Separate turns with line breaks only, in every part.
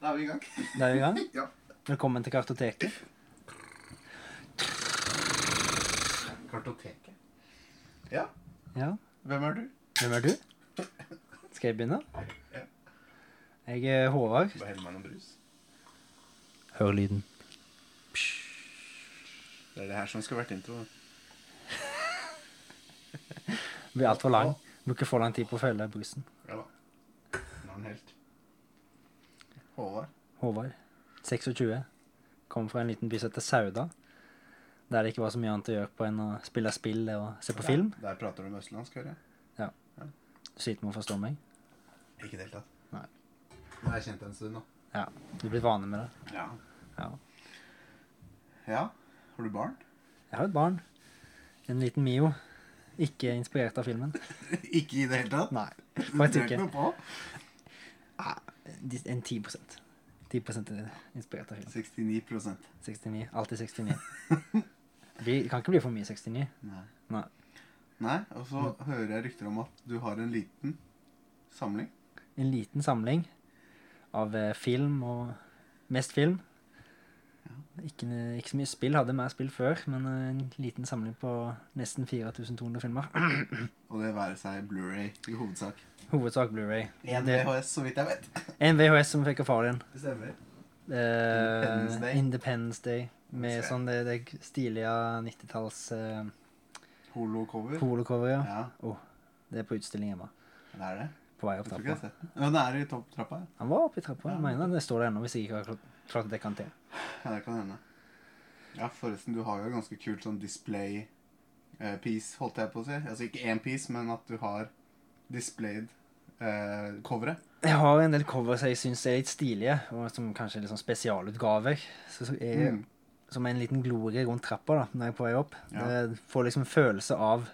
Da er vi i gang.
Da er vi i gang.
Ja.
Velkommen til Kartoteket.
Kartoteket.
ja.
Ja,
Hvem er du?
hvem er du? Skal jeg begynne?
Ja.
Jeg er Håvard.
Bare hell meg noen brus.
Hør lyden.
Det er det her som skulle vært introen.
Det blir altfor lang. Bruker for lang tid på å følge brusen.
Ja da. Nå er den helt. Håvard.
Håvard, 26, kom fra en liten by som heter Sauda. Der det ikke var så mye annet å gjøre på enn å spille spill og se på film.
Der, der prater du om østlandsk, hører jeg.
Du sliter med å forstå meg.
Ikke i det hele tatt.
Det har jeg kjent en stund nå.
Ja, du blir vane med det.
Ja.
Ja.
Ja. Har du barn?
Jeg har et barn. En liten Mio. Ikke inspirert av filmen.
ikke i det hele tatt?
Nei, faktisk
Det er
ikke.
noe på.
De- Ah, En 10 10 er inspirert av film.
69
69. Alltid 69. Det kan ikke bli for mye 69.
Nei.
Nei.
Nei, og så
Mm.
hører jeg rykter om at du har en liten samling.
En liten samling av eh, film og Mest film. Ikke, ikke så mye spill. Hadde mer spill før, men eh, en liten samling på nesten 4200 filmer.
Og det være seg Blu-ray i hovedsak.
Hovedsak Blu-ray.
En
Det-
VHS, så vidt jeg vet.
En VHS som fikk av far din.
Det stemmer.
Eh,
Independence Day.
Independence Day. Med
Ser jeg.
sånn det, det stilige 90-talls eh,
Holo-cover.
polocover. Ja.
Ja,
Det er på utstilling hjemme.
det er det.
På vei
Jeg
opp
tror ikke jeg har
trappa.
sett den. Ja, den er i topp trappa. ja.
Han var oppe i trappa.
Ja.
Jeg mener det står der ennå, hvis jeg ikke har klart- klart å dekantere.
Ja, det kan hende. Ja, forresten, du har jo et ganske kult sånn display eh, piece, holdt jeg på å si. Altså ikke én piece, men at du har displayed eh, coveret.
Jeg har en del cover som jeg syns er litt stilige, og som kanskje er litt sånn spesialutgaver. Så, så er,
Mm.
Som er en liten glorie rundt trappa da, når jeg er på vei opp.
Ja.
Det får liksom en følelse av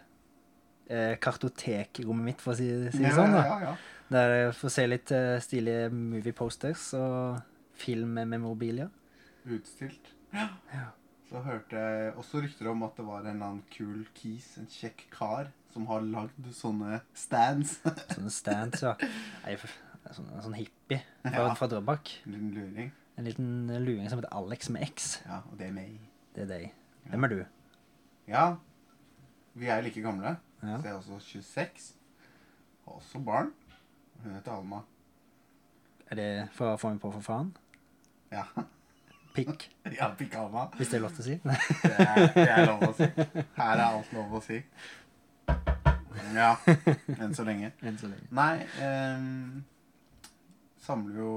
eh, kartotekrommet mitt, for å si, si det
Ja,
sånn. da.
Ja, ja,
Der jeg får se litt eh, stilige movie posters og film med memorabilia.
ja. Utstilt. Så hørte jeg også rykter om at det var en eller annen kul kis, en kjekk kar, som har lagd sånne stands.
Sånne stands, ja. Nei, f- sånn, sånn hippie fra,
Ja.
fra Drøbak.
En liten luring.
En liten luring som heter Alex med X.
Ja, og det er meg.
Det er deg. Hvem er du?
Ja, vi er like gamle.
Ja.
Så jeg er også 26. Har også barn. Hun heter Alma.
Er det fra Få meg på for faen?
Ja,
Pikk,
ja pikk Alma.
hvis det er lov til å si. Nei.
Det er, det er lov å si. Her er alt lov å si. Ja, enn så lenge.
Enn så lenge.
Nei, ehm, samler jo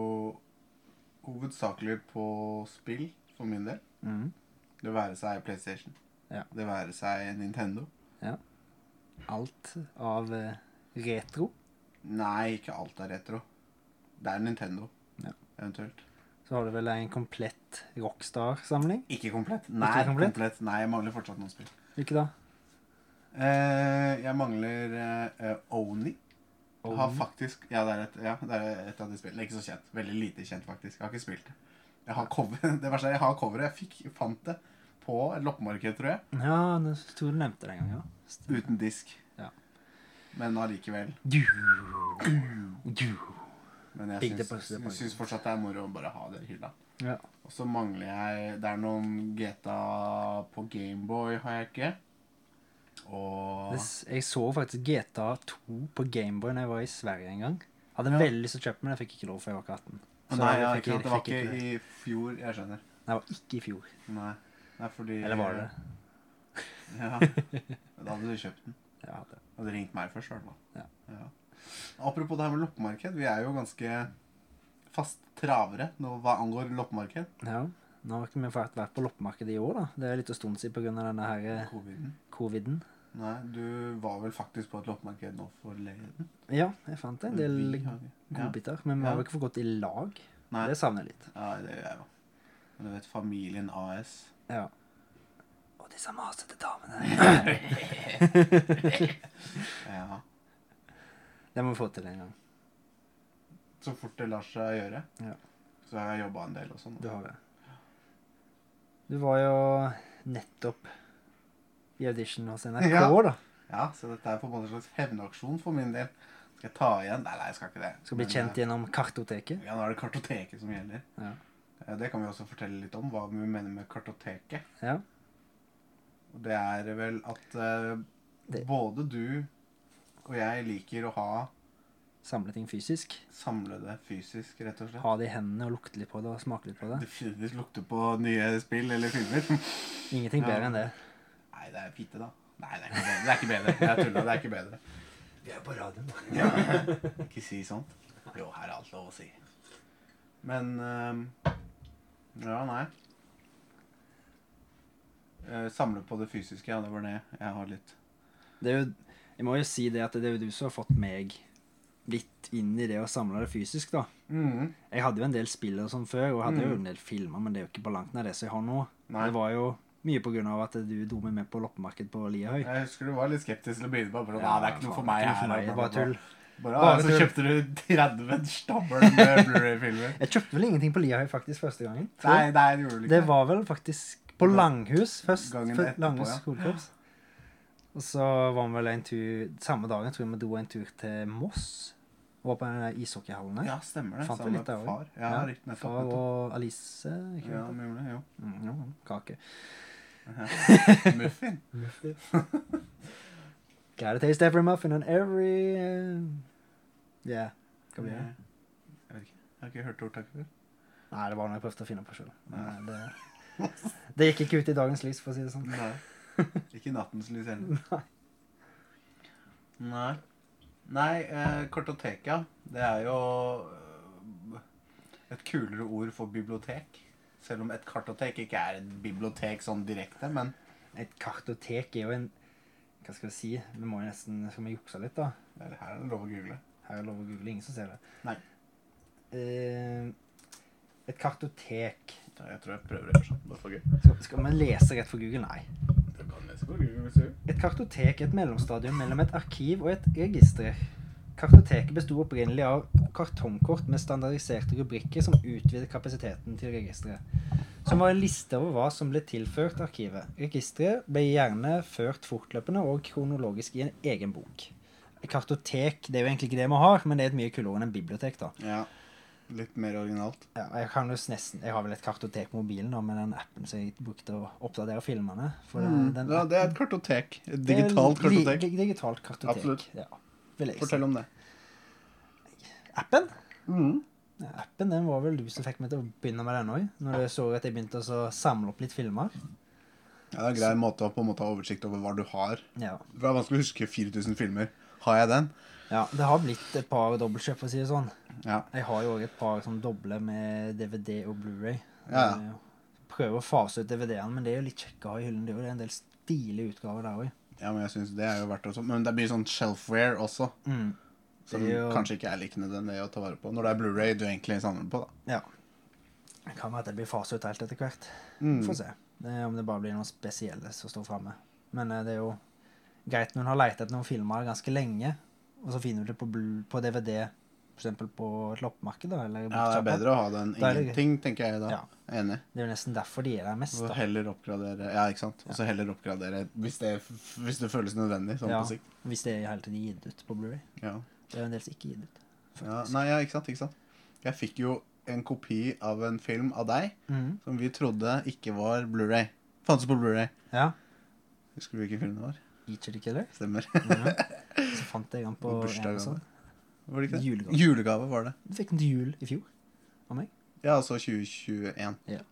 hovedsakelig på spill, for min del.
Mm.
Det være seg PlayStation.
Ja.
Det være seg Nintendo.
Alt av eh, retro.
Nei, ikke alt er retro. Det er Nintendo,
Ja.
eventuelt.
Så har du vel en komplett Rockstar-samling?
Ikke komplett. Nei,
komplett?
komplett. Nei, jeg mangler fortsatt noen spill.
Ikke da?
Eh, jeg mangler eh, eh, Oni.
Og-
Har faktisk, ja, det er et, ja, det er et av de spillene. Ikke så kjent. Veldig lite kjent, faktisk. Jeg har ikke spilt det. Jeg har cover, det verste er jeg har coveret. Jeg fikk, fant det på et loppemarked, tror jeg.
Ja, jeg tror du nevnte det en gang, ja.
Uten disk.
Ja.
Men allikevel.
Du. Du.
Men
Big
jeg syns,
deposit.
jeg syns fortsatt det er moro å bare ha det i hylla.
Ja.
Og så mangler jeg Det er noen GTA på Gameboy, har jeg ikke. Og
Det s- Jeg så faktisk GTA 2 på Gameboy når jeg var i Sverige en gang. Hadde
Ja.
veldig lyst til å kjøpe den, men jeg fikk ikke lov før jeg var 18. Så
Nei,
jeg
ja,
fikk
ikke sant. Det var
fikk
ikke i fjor. Jeg skjønner.
Nei, det var ikke i fjor.
Nei. Nei, fordi
Eller var det?
Ja. Da hadde du kjøpt den.
Ja, det.
Hadde ringt meg først, i hvert fall.
Ja.
Ja. Apropos det her med loppemarked. Vi er jo ganske fast travere nå hva angår loppemarked.
ja. Nå har ikke vi fått vært på loppemarkedet i år, da. Det er litt en stund siden pga. denne her eh,
Coviden.
coviden.
Nei, du var vel faktisk på et loppemarked nå forleden?
Ja, jeg fant en del
Vi har- Mm, ja.
godbiter. Men vi har
Ja.
jo ikke fått gått i lag.
Nei,
Det savner jeg litt.
ja, det gjør jeg jo. Men du vet, familien AS.
Ja. Og disse masete damene.
Ja.
Det må vi få til en gang.
Så fort det lar seg gjøre.
Ja.
Så har jeg jobba en del og sånn.
Du har det. Du var jo nettopp i audition hos NRK,
Ja.
da.
Ja, så dette er på en måte en slags hevnaksjon for min del. Skal jeg ta igjen? Nei, nei, jeg skal ikke det. eh,
Skal bli kjent gjennom kartoteket.
Ja, nå er det kartoteket som gjelder.
Ja.
Eh, Det kan vi også fortelle litt om, hva vi mener med kartoteket.
Ja.
Og det er vel at eh,
Det-
både du og jeg liker å ha
Samle ting fysisk.
samlede fysisk, rett og slett.
Ha det i hendene og lukte litt på det og smake litt på det.
Definitivt lukte på nye spill eller filmer.
Ingenting
Ja.
bedre enn det.
Nei, det er fitte, da. Nei, det er ikke bedre. Det er ikke bedre. Jeg tulla. Det er ikke bedre.
Vi er på radioen, da.
Ikke si sånt. Jo, her er alt lov å si. Men ehm, Ja, nei. Eh, Samle på det fysiske, ja. Det var det jeg har litt.
det er jo, jeg må jo si det at det er jo du som har fått meg litt inn i det å samle det fysisk, da.
Mhm.
Jeg hadde jo en del spill og sånn før, og hadde jo
Mm.
en del filmer, men det er jo ikke på langt nær det som jeg har nå.
Nei.
Det var jo mye på grunn av at du dro meg med på loppemarked på Lierhøy.
Jeg husker du var litt skeptisk til å begynne med. Bare, nei, det er ikke noe for
faen,
meg
det er
her.
ikke noe for meg, det er Bare tull.
Bare,
Bare
ja, så
tull.
kjøpte du 30 stabler med Blu-ray-filmer.
Jeg kjøpte vel ingenting på Lierhøy faktisk første gangen. tror
Nei,
jeg.
nei, det gjorde du ikke.
Det var vel faktisk på
Det-
Langhus først.
Gangen
før-
etterpå,
Langhus
ja.
skolekorps. Og så var vi vel en tur Samme dagen tror jeg vi dro en tur til Moss. Og var på den der ishockeyhallen der.
Ja, stemmer det.
Fant du
Sammen
litt
med
av det?
far. Ja,
Ja,
riktig. Nettopp.
Far
nettopp.
og Alice ikke
Ja,
sant?
vi gjorde det, jo.
Mm, ja, Kake.
Muffin.
Gotta taste every muffin and every uh, Yeah. Hva blir det?
Jeg vet ikke. Jeg har ikke hørt ordtaket før.
Nei, det var noe jeg prøvde å finne på sjøl. Det, det gikk ikke ut i dagens lys, for å si det sånn.
Nei. Ikke nattens lys heller. Nei. Nei, eh, kartoteka, det er jo eh, et kulere ord for bibliotek. Selv om et kartotek ikke er et bibliotek sånn direkte, men
Et kartotek er jo en Hva skal vi si? Vi må jo nesten Skal vi jukse litt, da?
Eller her er det lov å google.
Her er lov å google. Ingen som ser det.
Nei.
Eh, et kartotek
Ja, Jeg tror jeg prøver å gjøre sånn, bare for gøy.
skal, skal man lese rett for Google? Nei.
Det kan lese på Google hvis du vil.
Et kartotek er et mellomstadium mellom et arkiv og et register. Kartoteket besto opprinnelig av kartongkort med standardiserte rubrikker som utvidet kapasiteten til registeret, som var en liste over hva som ble tilført arkivet. Registeret ble gjerne ført fortløpende og kronologisk i en egen bok. Et Kartotek det er jo egentlig ikke det vi har, men det er et mye kulere enn en bibliotek. da.
Ja. Litt mer originalt.
Ja, jeg, kan jo s- nesten, jeg har vel et kartotek på mobilen da, med den appen som jeg brukte å oppdatere filmene. for den- Mm, den
Mm. Ja, det er et kartotek. Et digitalt
Det er Eh, li-
kartotek.
di- Digitalt kartotek.
Absolutt.
Ja, vil jeg si.
Fortell om det.
Appen? Ja, Appen den var vel du som fikk meg til å begynne med den òg. Når du så at jeg begynte å så samle opp litt filmer.
Ja, det er en grei måte å på en måte ha oversikt over hva du har.
Ja.
For Det er vanskelig å huske 4000 filmer. Har jeg den?
ja det har blitt et par dobbeltkjøp, for å si det sånn.
Ja.
Jeg har jo òg et par sånn doble med DVD og Blu-ray.
Ja, ja.
Jeg Prøver å fase ut DVD-ene, men det er jo litt kjekkere å ha i hyllen. Det er jo en del stilige utgaver der òg.
ja, men jeg synes det er jo verdt det også. Men det blir sånn shelfware også,
Mm.
som
Det er jo-
kanskje ikke er like nødvendig å ta vare på. Når det er Blu-ray du egentlig samler på, da.
Ja. Det kan være at det blir faset ut helt etter hvert.
Mm.
Får se eh, om det bare blir noen spesielle som står framme. Men eh, det er jo greit når en har lett etter noen filmer ganske lenge, og så finner du det på, bl- på DVD, f.eks. på et loppemarked. da, Eller i
Ja, det er
bokkjappa.
bedre å ha den
Da er det greit.
ingenting, tenker jeg da.
Ja.
Enig.
Det er jo nesten derfor de er der mest.
Og
da.
heller oppgradere Ja, ikke sant. Og så heller oppgradere hvis det, hvis det føles nødvendig, sånn
Ja.
på sikt.
Hvis det i hele tiden er gitt ut på Blu-ray.
Ja.
Det er jo en del som ikke er gitt ut.
ja. Nei, ja, ikke sant. Ikke sant. Jeg fikk jo en kopi av en film av deg
Mhm.
som vi trodde ikke var Blu-ray. Fantes på Blu-ray.
Ja.
Husker du hvilken film det var?
Eater the Killer.
Stemmer.
Så fant jeg den på
På bursdagen.
Amazon.
Var det ikke det?
Julegave.
Julegave var det.
Du fikk den til jul i fjor.
Ja, altså 2021.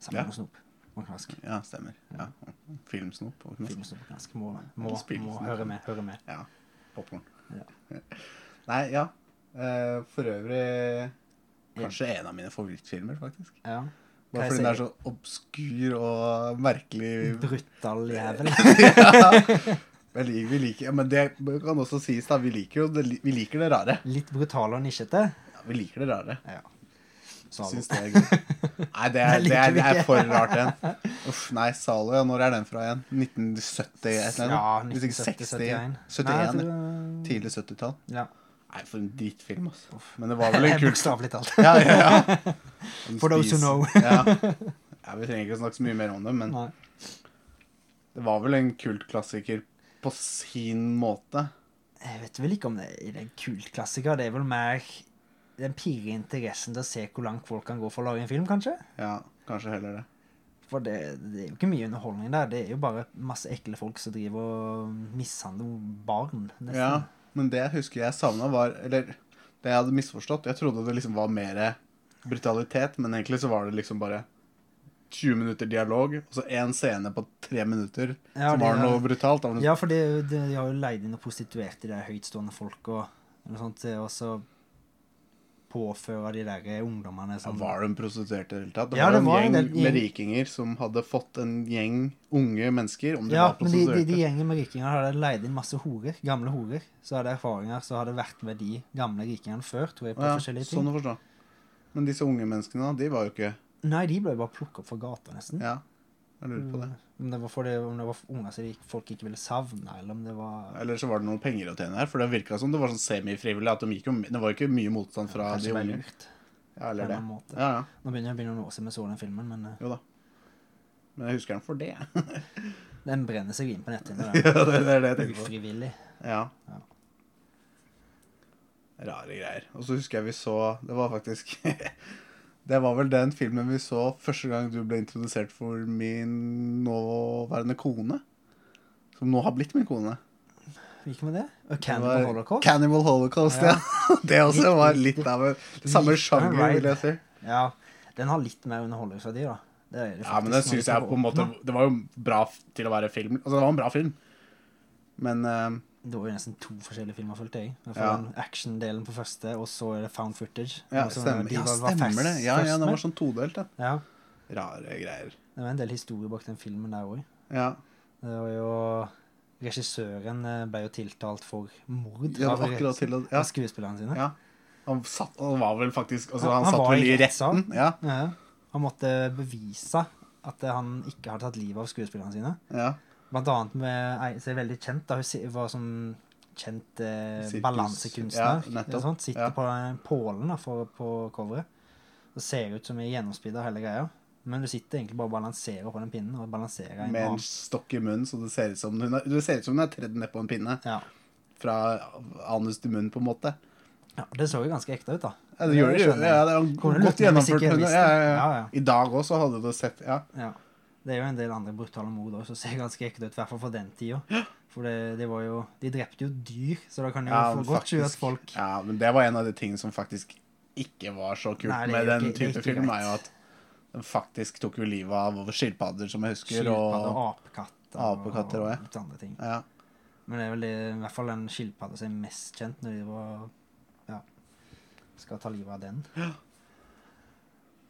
Sammen
Ja.
med Snop. Og Knask.
Ja, stemmer. Ja. Filmsnop og knas-
Filmsnop og Knask må, må, må
Spillsnop.
høre med. Høre med.
popcorn.
Ja.
Nei, ja. Eh, For øvrig kanskje en av mine favorittfilmer, faktisk.
Ja. Hva
Bare
jeg
fordi den
sier?
er så obskur og merkelig.
Brutal jævel.
Jeg liker, vi liker, ja, men det kan også sies, da. Vi liker jo det, li- vi liker det rare.
Litt brutal og nisjete.
Ja, vi liker det rare.
Salo.
Syns det er gøy. Nei, det er,
Det liker
det er,
vi
det er
ikke.
for rart igjen. Uff, nei, Zalo, ja, når er den fra igjen? 1970 et eller
Ja,
annet? Hvis ikke 60,
1970-71.
71, ja.
Tidlig.
Tidlig 70-tall.
Ja.
Nei, for en drittfilm, altså. Men det var vel en kul
Bokstavelig talt.
Ja, ja, ja. Den
For those who
spiser-
know.
ja. ja, Vi trenger ikke å snakke så mye mer om det, men
Nei.
det var vel en kultklassiker på sin måte.
Jeg vet vel ikke om det er en kult klassiker. Det er vel mer den pirrer interessen til å se hvor langt folk kan gå for å lage en film, kanskje.
Ja, kanskje heller det.
For det, det er jo ikke mye underholdning der. Det er jo bare masse ekle folk som driver og mishandler barn. nesten.
Ja, men det jeg husker jeg savna, var Eller det jeg hadde misforstått. Jeg trodde det liksom var mer brutalitet, men egentlig så var det liksom bare 20 minutter dialog, og så én scene på tre minutter
Ja,
som
det
var
er-
noe brutalt. Da var det
Ja, for det, er jo- det, de har jo leid inn og prostituert de der høytstående folk og noe sånt, til å så påføre de der ungdommene
Ja,
sånn
var de prostituerte i det hele tatt? Det
Ja,
var,
det var en
en gjeng
del-
med rikinger som hadde fått en gjeng unge mennesker, om de
Ja,
var
men de,
prostituerte.
de, de gjengen med rikinger hadde leid inn masse horer, gamle horer. Så hadde erfaringer så hadde vært med de gamle rikingene før, tror jeg, på
Å ja,
forskjellige ting.
sånn å forstå. Men disse unge menneskene, da, de var jo ikke
Nei, de ble bare plukket opp fra gata, nesten.
Ja, jeg lurer på det.
Om det var, for det, om det var unger som de- folk ikke ville savne, eller om det var
Eller så var det noen penger å tjene her, for det virka som det var sånn semifrivillig. at de gikk jo, Det var jo ikke mye motstand fra
kanskje
de
det var
unge.
lurt.
Ja,
på en
eller det.
eller annen måte.
Ja, ja.
Nå begynner det å bli noen år siden vi så den filmen, men eh,
Jo da. Men jeg husker den for det.
den brenner seg inn på netthinna.
ja, det, det er det jeg
den.
tenker på.
Ufrivillig.
Ja.
Ja.
Rare greier. Og så husker jeg vi så Det var faktisk Det var vel den filmen vi så første gang du ble introdusert for min nåværende kone. Som nå har blitt min kone.
Hvilken var det? A
Det
Cannibal
var
Holocaust?
Cannibal Holocaust, ja.
Ja.
Det også
Litt-
var
litt-
litt av en samme
litt av en
sjanger, vil
ride.
jeg si.
ja. Den har litt mer underholdningsverdi, da. Det er det
Ja, men den
faktisk, når
synes
vi
jeg
får
på en
åpne.
måte Det var jo bra f- til å være film. Altså, det var en bra film. Men eh,
Det var jo nesten to forskjellige filmer, følte jeg. I hvert
Ja.
fall den Action-delen på første, og så er det found footage.
ja,
Og så
stemmer,
de
ja,
var- var
stemmer
først-
det. Ja, ja,
først
den
med.
var sånn todelt, ja.
Ja,
Rare greier.
det var en del historie bak den filmen der òg.
Ja.
Det var jo Regissøren eh, ble jo tiltalt for mord
Ja, det var akkurat til å
av
ja.
skuespillerne sine.
ja. Han satt Han var vel faktisk altså,
Ja,
Han,
han
satt
var
vel
i sånn.
i
rettssal.
retten. Ja.
Ja. Han måtte bevise at eh, han ikke hadde tatt livet av skuespillerne sine.
ja.
Blant annet med ei som er veldig kjent. da, Hun si- var som kjent eh,
Sirkus- ja,
balansekunstner.
nettopp.
eller sånt. Sitter
Ja.
på den pålen da, for, på coveret og ser ut som ei gjennomspidda hele greia. Men du sitter egentlig bare og balanserer på den pinnen. og balanserer i en
Med en
annen.
stokk i munnen, så det ser ut som hun er, det ser ut som hun er tredd ned på en pinne.
Ja.
Fra anus til munn, på en måte.
ja, Det så jo ganske ekte ut, da.
Ja, det gjør det.
skjønner jeg.
Ja, det
Kommer
er
det
godt
lukter hvis ikke
gjennomført.
jeg
hun-
visste.
Ja, ja, ja.
Ja, ja.
I dag òg så hadde du sett Ja.
Ja. Det er jo en del andre brutale mord også, som ser ganske ekte ut, i hvert fall for den tida. For det, det var jo De drepte jo dyr, så da kan det jo
Ja,
få
men
godt skje at
faktisk-
folk
Ja, men det var en av de tingene som faktisk ikke var så kult
Nei, det er
med
jo
den
ikke- det er
type
ikke
film,
greit.
er jo at den faktisk tok jo livet av skilpadder, som jeg husker,
Skilpadder og
og
apekatter.
Apekatter også, ja.
og litt andre ting.
ja.
Men det er vel det, i hvert fall den skilpadda som er mest kjent når de var, ja, skal ta livet av den.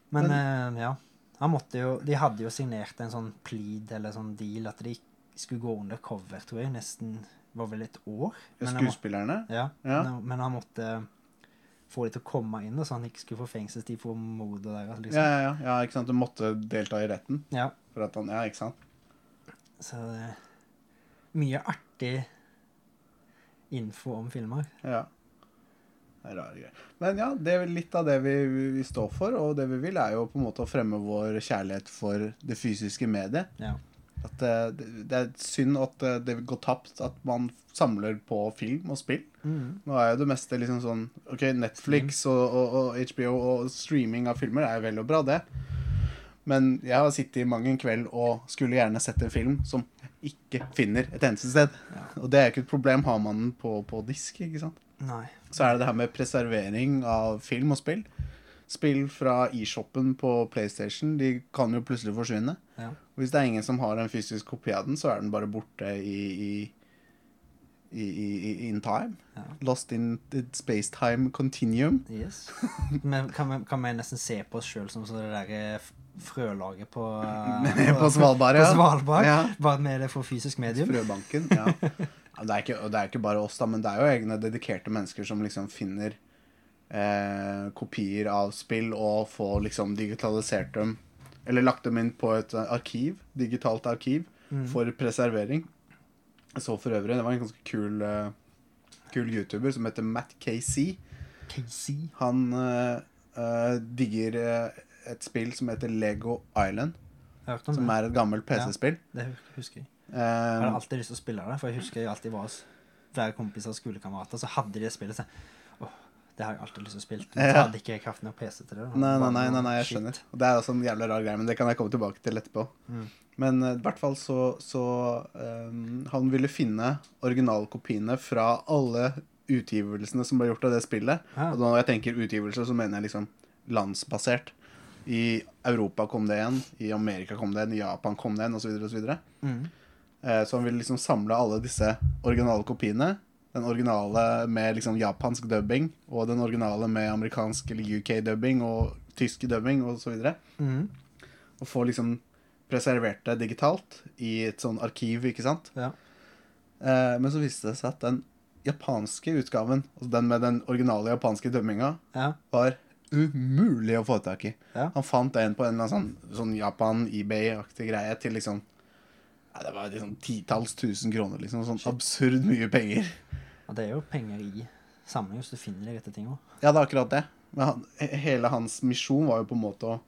Men, eh, ja, han måtte jo, de hadde jo signert en sånn plead eller sånn deal at de skulle gå under cover, tror jeg, nesten var vel et år. Men han må-
Skuespillerne?
ja,
Ja.
men- men han måtte få de til å komme inn, da, så han ikke skulle få fengselstid for mordet deres.
Ja,
Liksom.
ja, ja, ja, ikke sant? Du måtte delta i retten
Ja.
for at han Ja, ikke sant?
Så det er mye artig info om filmer.
Ja. Det er rare greier. Men ja, det er litt av det vi, vi- vi står for, og det vi vil, er jo på en måte å fremme vår kjærlighet for det fysiske mediet.
Ja.
At eh, det, det- det er synd at eh, det går tapt at man samler på film og spill. Nå er jo det meste liksom sånn Ok, Netflix og, og, og HBO og streaming av filmer er jo vel og bra, det. Men jeg har sittet i mang en kveld og skulle gjerne sett en film som jeg ikke finner et eneste sted. Og det er jo ikke et problem. Har man den på, på disk, ikke sant.
Nei.
Så er det det her med preservering av film og spill. Spill fra eShopen på PlayStation, de kan jo plutselig forsvinne.
Ja.
Hvis det er ingen som har en fysisk kopi av den, så er den bare borte i, i, i, i, i in time.
Ja.
Lost in the space-time continuum.
Yes. Men kan vi, kan vi nesten se på oss sjøl som så det derre frølaget på, eh,
på Svalbard, ja.
på Svalbard.
Ja.
Bare med det for fysisk medium.
Frøbanken. Ja. Ja, Det er, ikke, og det er ikke bare oss, da, men det er jo egne dedikerte mennesker som liksom finner eh, kopier av spill og får liksom digitalisert dem. Eller lagt dem inn på et eh, arkiv, digitalt arkiv for preservering. Jeg så for øvrig, det var en ganske kul, eh, kul YouTuber som heter Matt KC.
Casey.
Han eh, eh, digger eh, et spill som heter Lego Island,
Hørte om
som
det?
er et gammelt PC-spill.
Mm. Det husker jeg. Jeg
Eh,
hadde alltid lyst til å spille det, for jeg husker jeg alltid var hos flere kompiser og skolekamerater, så hadde de det spillet. Så, jeg, åh, det har jeg alltid lyst til å spille. Men
Ja.
så hadde ikke jeg kraften av PC til det. da.
Nei, nei, nei,
Bare
nei,
noe
nei jeg
shit.
skjønner. Og det er også en jævla rar greie, men det kan jeg komme tilbake til etterpå.
Mm.
Men eh, i hvert fall så, så eh, Han ville finne originalkopiene fra alle utgivelsene som ble gjort av det spillet.
Ja.
Og når jeg tenker utgivelse, så mener jeg liksom landsbasert. I Europa kom det en, i Amerika kom det en, i Japan kom det en, osv. osv. Så, videre.
Mm.
Eh, så han ville liksom samle alle disse originale kopiene. Den originale med liksom japansk dubbing, og den originale med amerikansk eller UK-dubbing og tysk dubbing og så videre
Mm.
Og få liksom preservert det digitalt i et sånn arkiv, ikke sant.
Ja.
Eh, men så viste det seg at den japanske utgaven, altså den med den originale japanske dømminga,
Ja.
var umulig å få tak i.
Ja.
Han fant en på en eller annen sånn, sånn Japan-eBay-aktig greie til liksom ja, Det var liksom titalls tusen kroner, liksom. Sånn absurd mye penger.
Og det er jo penger i samling hvis du finner de rette tingene.
Ja, det er akkurat det. Men han, he- hele hans misjon var jo på en måte å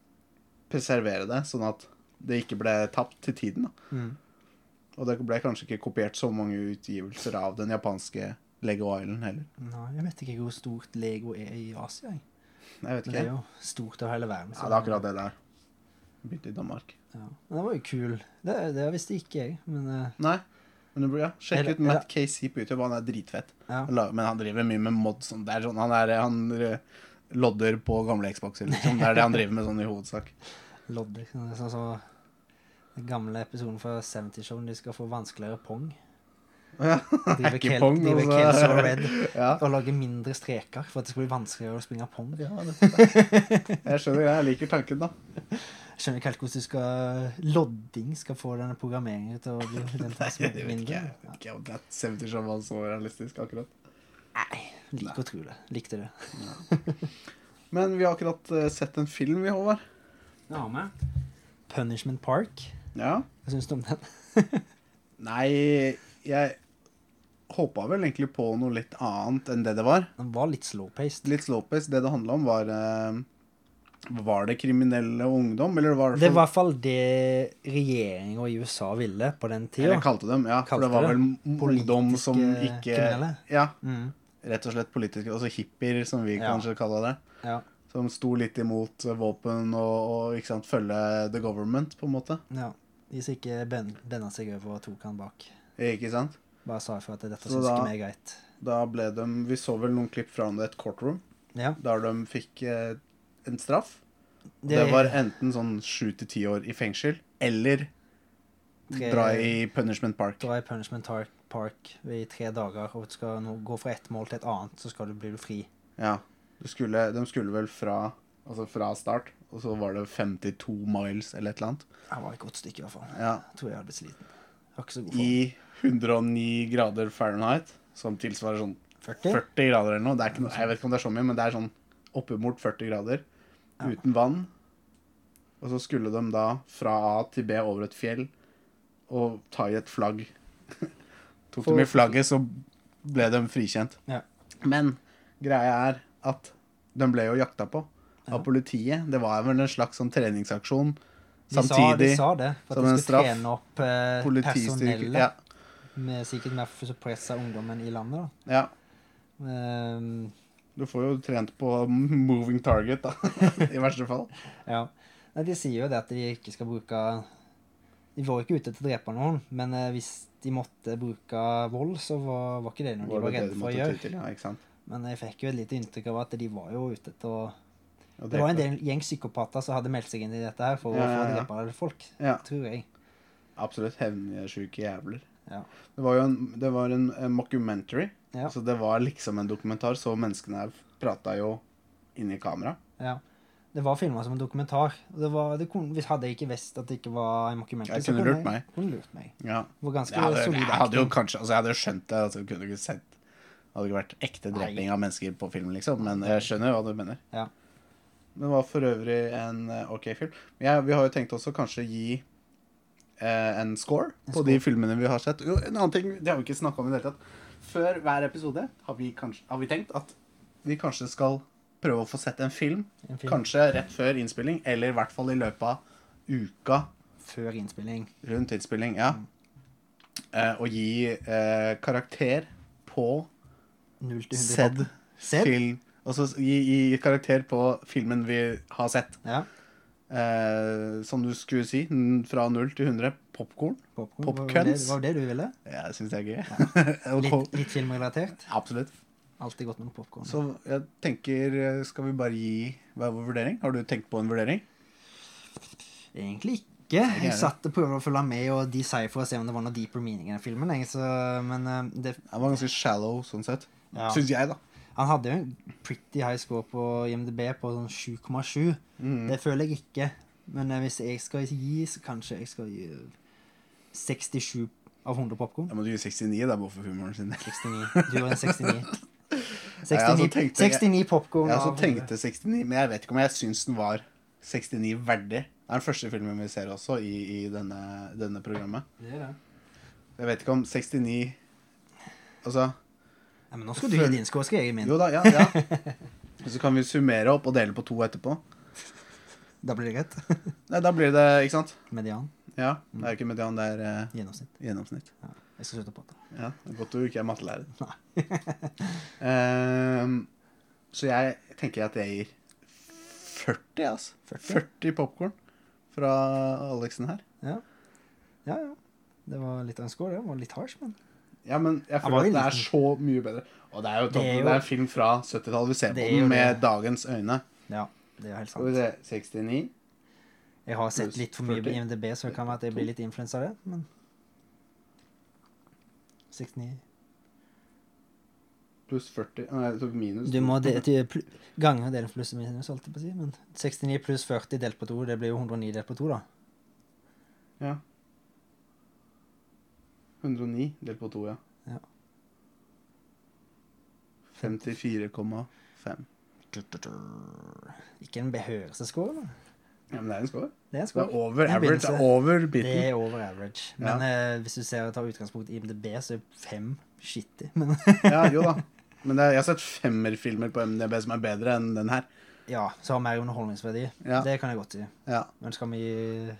preservere det, sånn at det ikke ble tapt til tiden. Da.
Mm.
Og det ble kanskje ikke kopiert så mange utgivelser av den japanske Lego Island heller.
Nei, jeg vet ikke hvor stort Lego er i Asia. Jeg.
Jeg vet
Men det
ikke.
er jo stort over hele verden.
Ja, det er akkurat det der. Begynte i Danmark.
Ja. Men det var jo kul. Det, det visste ikke jeg. Men eh,
Nei. Men det blir, ja.
Er
Sjekk
det-
ut Matt KC på YouTube, han er dritfett.
ja.
Han lager- Men han driver mye med mods. Sånn. Det er sånn, han, er, han eh, lodder på gamle Xboxer, liksom. Det er det han driver med sånn i hovedsak.
lodder. Sånn som den gamle episoden fra 70 Show, de skal få vanskeligere pong.
Ja,
De vil
Ikke
kel-
pong,
de vil
altså.
kelso red
Ja.
og lage mindre streker for at det skal bli vanskeligere å springe pong.
Ja, nettopp, ja. jeg skjønner, jeg liker tanken, da.
Jeg skjønner ikke helt hvordan du skal lodding skal få denne programmeringen til å bli den
Nei, jeg vet ikke,
mindre.
jeg vet ikke om det er 70 som var så realistisk, akkurat.
Ja, liker å tro det. Likte det.
Men vi har akkurat eh, sett en film, vi, Håvard.
Ja, med. Punishment Park.
Ja.
Hva syns du om den?
Nei, jeg håpa vel egentlig på noe litt annet enn det det var.
Den var litt slow-paced.
Litt slowpace. Det det handla om, var eh, Var det kriminelle ungdom, eller var
Det var i hvert fall det regjeringa i USA ville på den tida.
Eller kalte dem, ja. for
Kalte
det var
det.
vel ungdom
Politiske
som ikke
kriminelle.
Ja,
Mm,
rett og slett politiske. Altså hippier, som vi
Ja.
kanskje kaller det.
ja.
Som sto litt imot eh, våpen og, og ikke sant, følge the government, på en måte.
Ja. Hvis ikke ben, benda seg over og tok han bak.
Ikke sant?
Bare sa ifra at dette
Så
syns
da-
ikke vi er greit.
Da ble de Vi så vel noen klipp fra et courtroom
Ja.
der de fikk eh, en straff. Og
Det,
det var enten sånn sju til ti år i fengsel eller
Tre-
dra i punishment park.
dra i punishment tar- park i tre dager, og du skal nå gå fra ett mål til et annet, så skal du bli fri.
Ja. Du skulle, de skulle vel fra, altså fra start, og så var det 52 miles eller et eller annet.
Det var et godt stykke, i hvert fall.
Ja.
Jeg tror jeg hadde blitt sliten. Jeg var ikke så god for
I 109 grader fahrenheit, som tilsvarer sånn
40.
40 grader eller noe. Det er ikke noe jeg vet ikke om det er så mye, men det er sånn oppimot 40 grader
Ja.
uten vann. Og så skulle de da fra A til B over et fjell og ta i et flagg. Tok
For-
dem i flagget, så ble de frikjent.
Ja.
Men greia er at de ble jo jakta på av
Ja.
politiet. Det var vel en slags sånn treningsaksjon.
De sa, de
Samtidig
sa det, for
som
at
en
de skulle
straff.
trene opp eh,
politistyrke
personellet.
ja,
Med, sikkert med for å presse ungdommen i landet. Da.
ja.
Ehm,
Du får jo trent på moving target, da. I verste fall.
Ja. Nei, de sier jo det at de ikke skal bruke De var ikke ute til å drepe noen, men eh, hvis de måtte bruke vold, så var, var ikke det noe de var
det det
redde
du
for å
måtte ty
gjøre.
til, Ja, ikke sant?
Men jeg fikk jo et lite inntrykk av at de var jo ute til å
Og
Det var en
drepe.
del gjeng psykopater som hadde meldt seg inn i dette her for å
Ja,
få
ja, ja.
drepe folk,
Ja,
tror jeg.
absolutt hevnsjuke jævler.
Ja.
Det var jo en, det var en, en mockumentary,
Ja.
så det var liksom en dokumentar, så menneskene her prata jo inni kamera.
ja. Det var filma som en dokumentar. og Det var, det kunne, hvis hadde jeg ikke visst at det ikke var en mockumentary,
Jeg kunne lurt meg.
kunne lurt meg.
Ja.
Det var
Jeg
ganske
hadde,
solid.
jeg hadde jo
acting.
kanskje altså Jeg hadde jo skjønt det. Altså, jeg kunne ikke sett Det hadde ikke vært ekte dreping av mennesker på film, liksom, men jeg skjønner jo hva du mener.
Ja.
Men det var for øvrig en eh, OK film. Men jeg, vi har jo tenkt også kanskje gi eh, en score
En
på de filmene vi har sett. Jo, en annen ting, det har vi ikke snakka om i det hele tatt. Før hver episode har vi, kanskje, har vi tenkt at vi kanskje skal prøve å få sett en film.
En film
Kanskje rett før innspilling, eller i hvert fall i løpet av uka
før innspilling.
rundt innspilling. Ja. Eh, og gi eh, karakter på
Null til 100
sedd
topp. Sedd?
film. Og så gi, gi karakter på filmen vi har sett.
Ja.
Eh, som du skulle si, n- fra 0 til 100 popkorn.
Popcorn.
Popcorns.
Var det, var det du ville?
Ja, det syns jeg er gøy. Og ko-
Litt, litt filmrelatert.
Absolutt.
Alltid godt med noe popkorn.
Så jeg tenker, eh, skal vi bare gi hver vår vurdering? Har du tenkt på en vurdering?
Egentlig ikke.
det.
Jeg satt og prøvde å følge med og decipher og se om det var noe deeper meaning i den filmen. Jeg, så, men eh, det,
Den var ganske shallow, sånn sett.
Ja.
Syns jeg, da.
han hadde jo en pretty high score på IMDb på sånn 7,7. Det føler jeg ikke. Men eh, hvis jeg skal gi, så kanskje jeg skal gi 67 av 100 popkorn.
Da må du gi 69, da, bare for humoren sin.
69. Du var en 69. 69,
Ja, så tenkte jeg-
69 popkorn.
Jeg også
av 100.
tenkte 69, men jeg vet ikke om jeg syns den var 69 verdig. Det er den første filmen vi ser også i, i denne, denne programmet.
Det er det.
Jeg vet ikke om 69 Altså
Ja, men nå skal du gi din score, skal jeg gi min.
Jo da, ja. ja. Og Så kan vi summere opp og dele på to etterpå.
Da blir det greit.
Nei, da blir det Ikke sant?
Median.
Ja. Det er ikke median, det er eh,
Gjennomsnitt.
gjennomsnitt.
Ja, jeg skal slutte på det.
Ja, det er Godt du ikke er mattelærer. Ehm, så jeg tenker at jeg gir 40, altså.
40?
40 popkorn fra Alexen her.
Ja. ja, ja. Det var litt av en score, det. Det var litt harsh, men
Ja, men jeg
var
føler at
jo
det er
liten.
så mye bedre. Og det er jo, toppen,
Det er jo-
det er en film fra 70-tallet. Vi ser på
Det er
den
jo
med
det.
dagens øyne.
ja. Det er helt
Skal vi
sant.
se 69
Jeg har sett litt for mye på
40.
IMDb, så det kan være at jeg blir litt influensa av det, men 69
pluss 40 Nei, så minus
Du må de, de, pl- gange delen pluss og minus, holdt jeg på å si. Men 69 pluss 40 delt på 2, det blir jo 109 delt på 2, da.
Ja. 109 delt på 2, ja.
Ja.
54,5.
Ikke en behørelsesscore, da.
Ja, men det er en score.
Det er en
Det
score.
er over
Det er en
average. Det
begynnelse.
er over
Det
biten.
er over average.
Ja.
Men eh, hvis du ser tar utgangspunkt i IMDb, så er fem shitty. Men
Ja, jo da. Men det er, jeg har sett femmerfilmer på MDB som er bedre enn den her.
ja, så har mer underholdningsverdi.
Ja.
Det kan jeg godt si.
Ja.
Men skal vi gi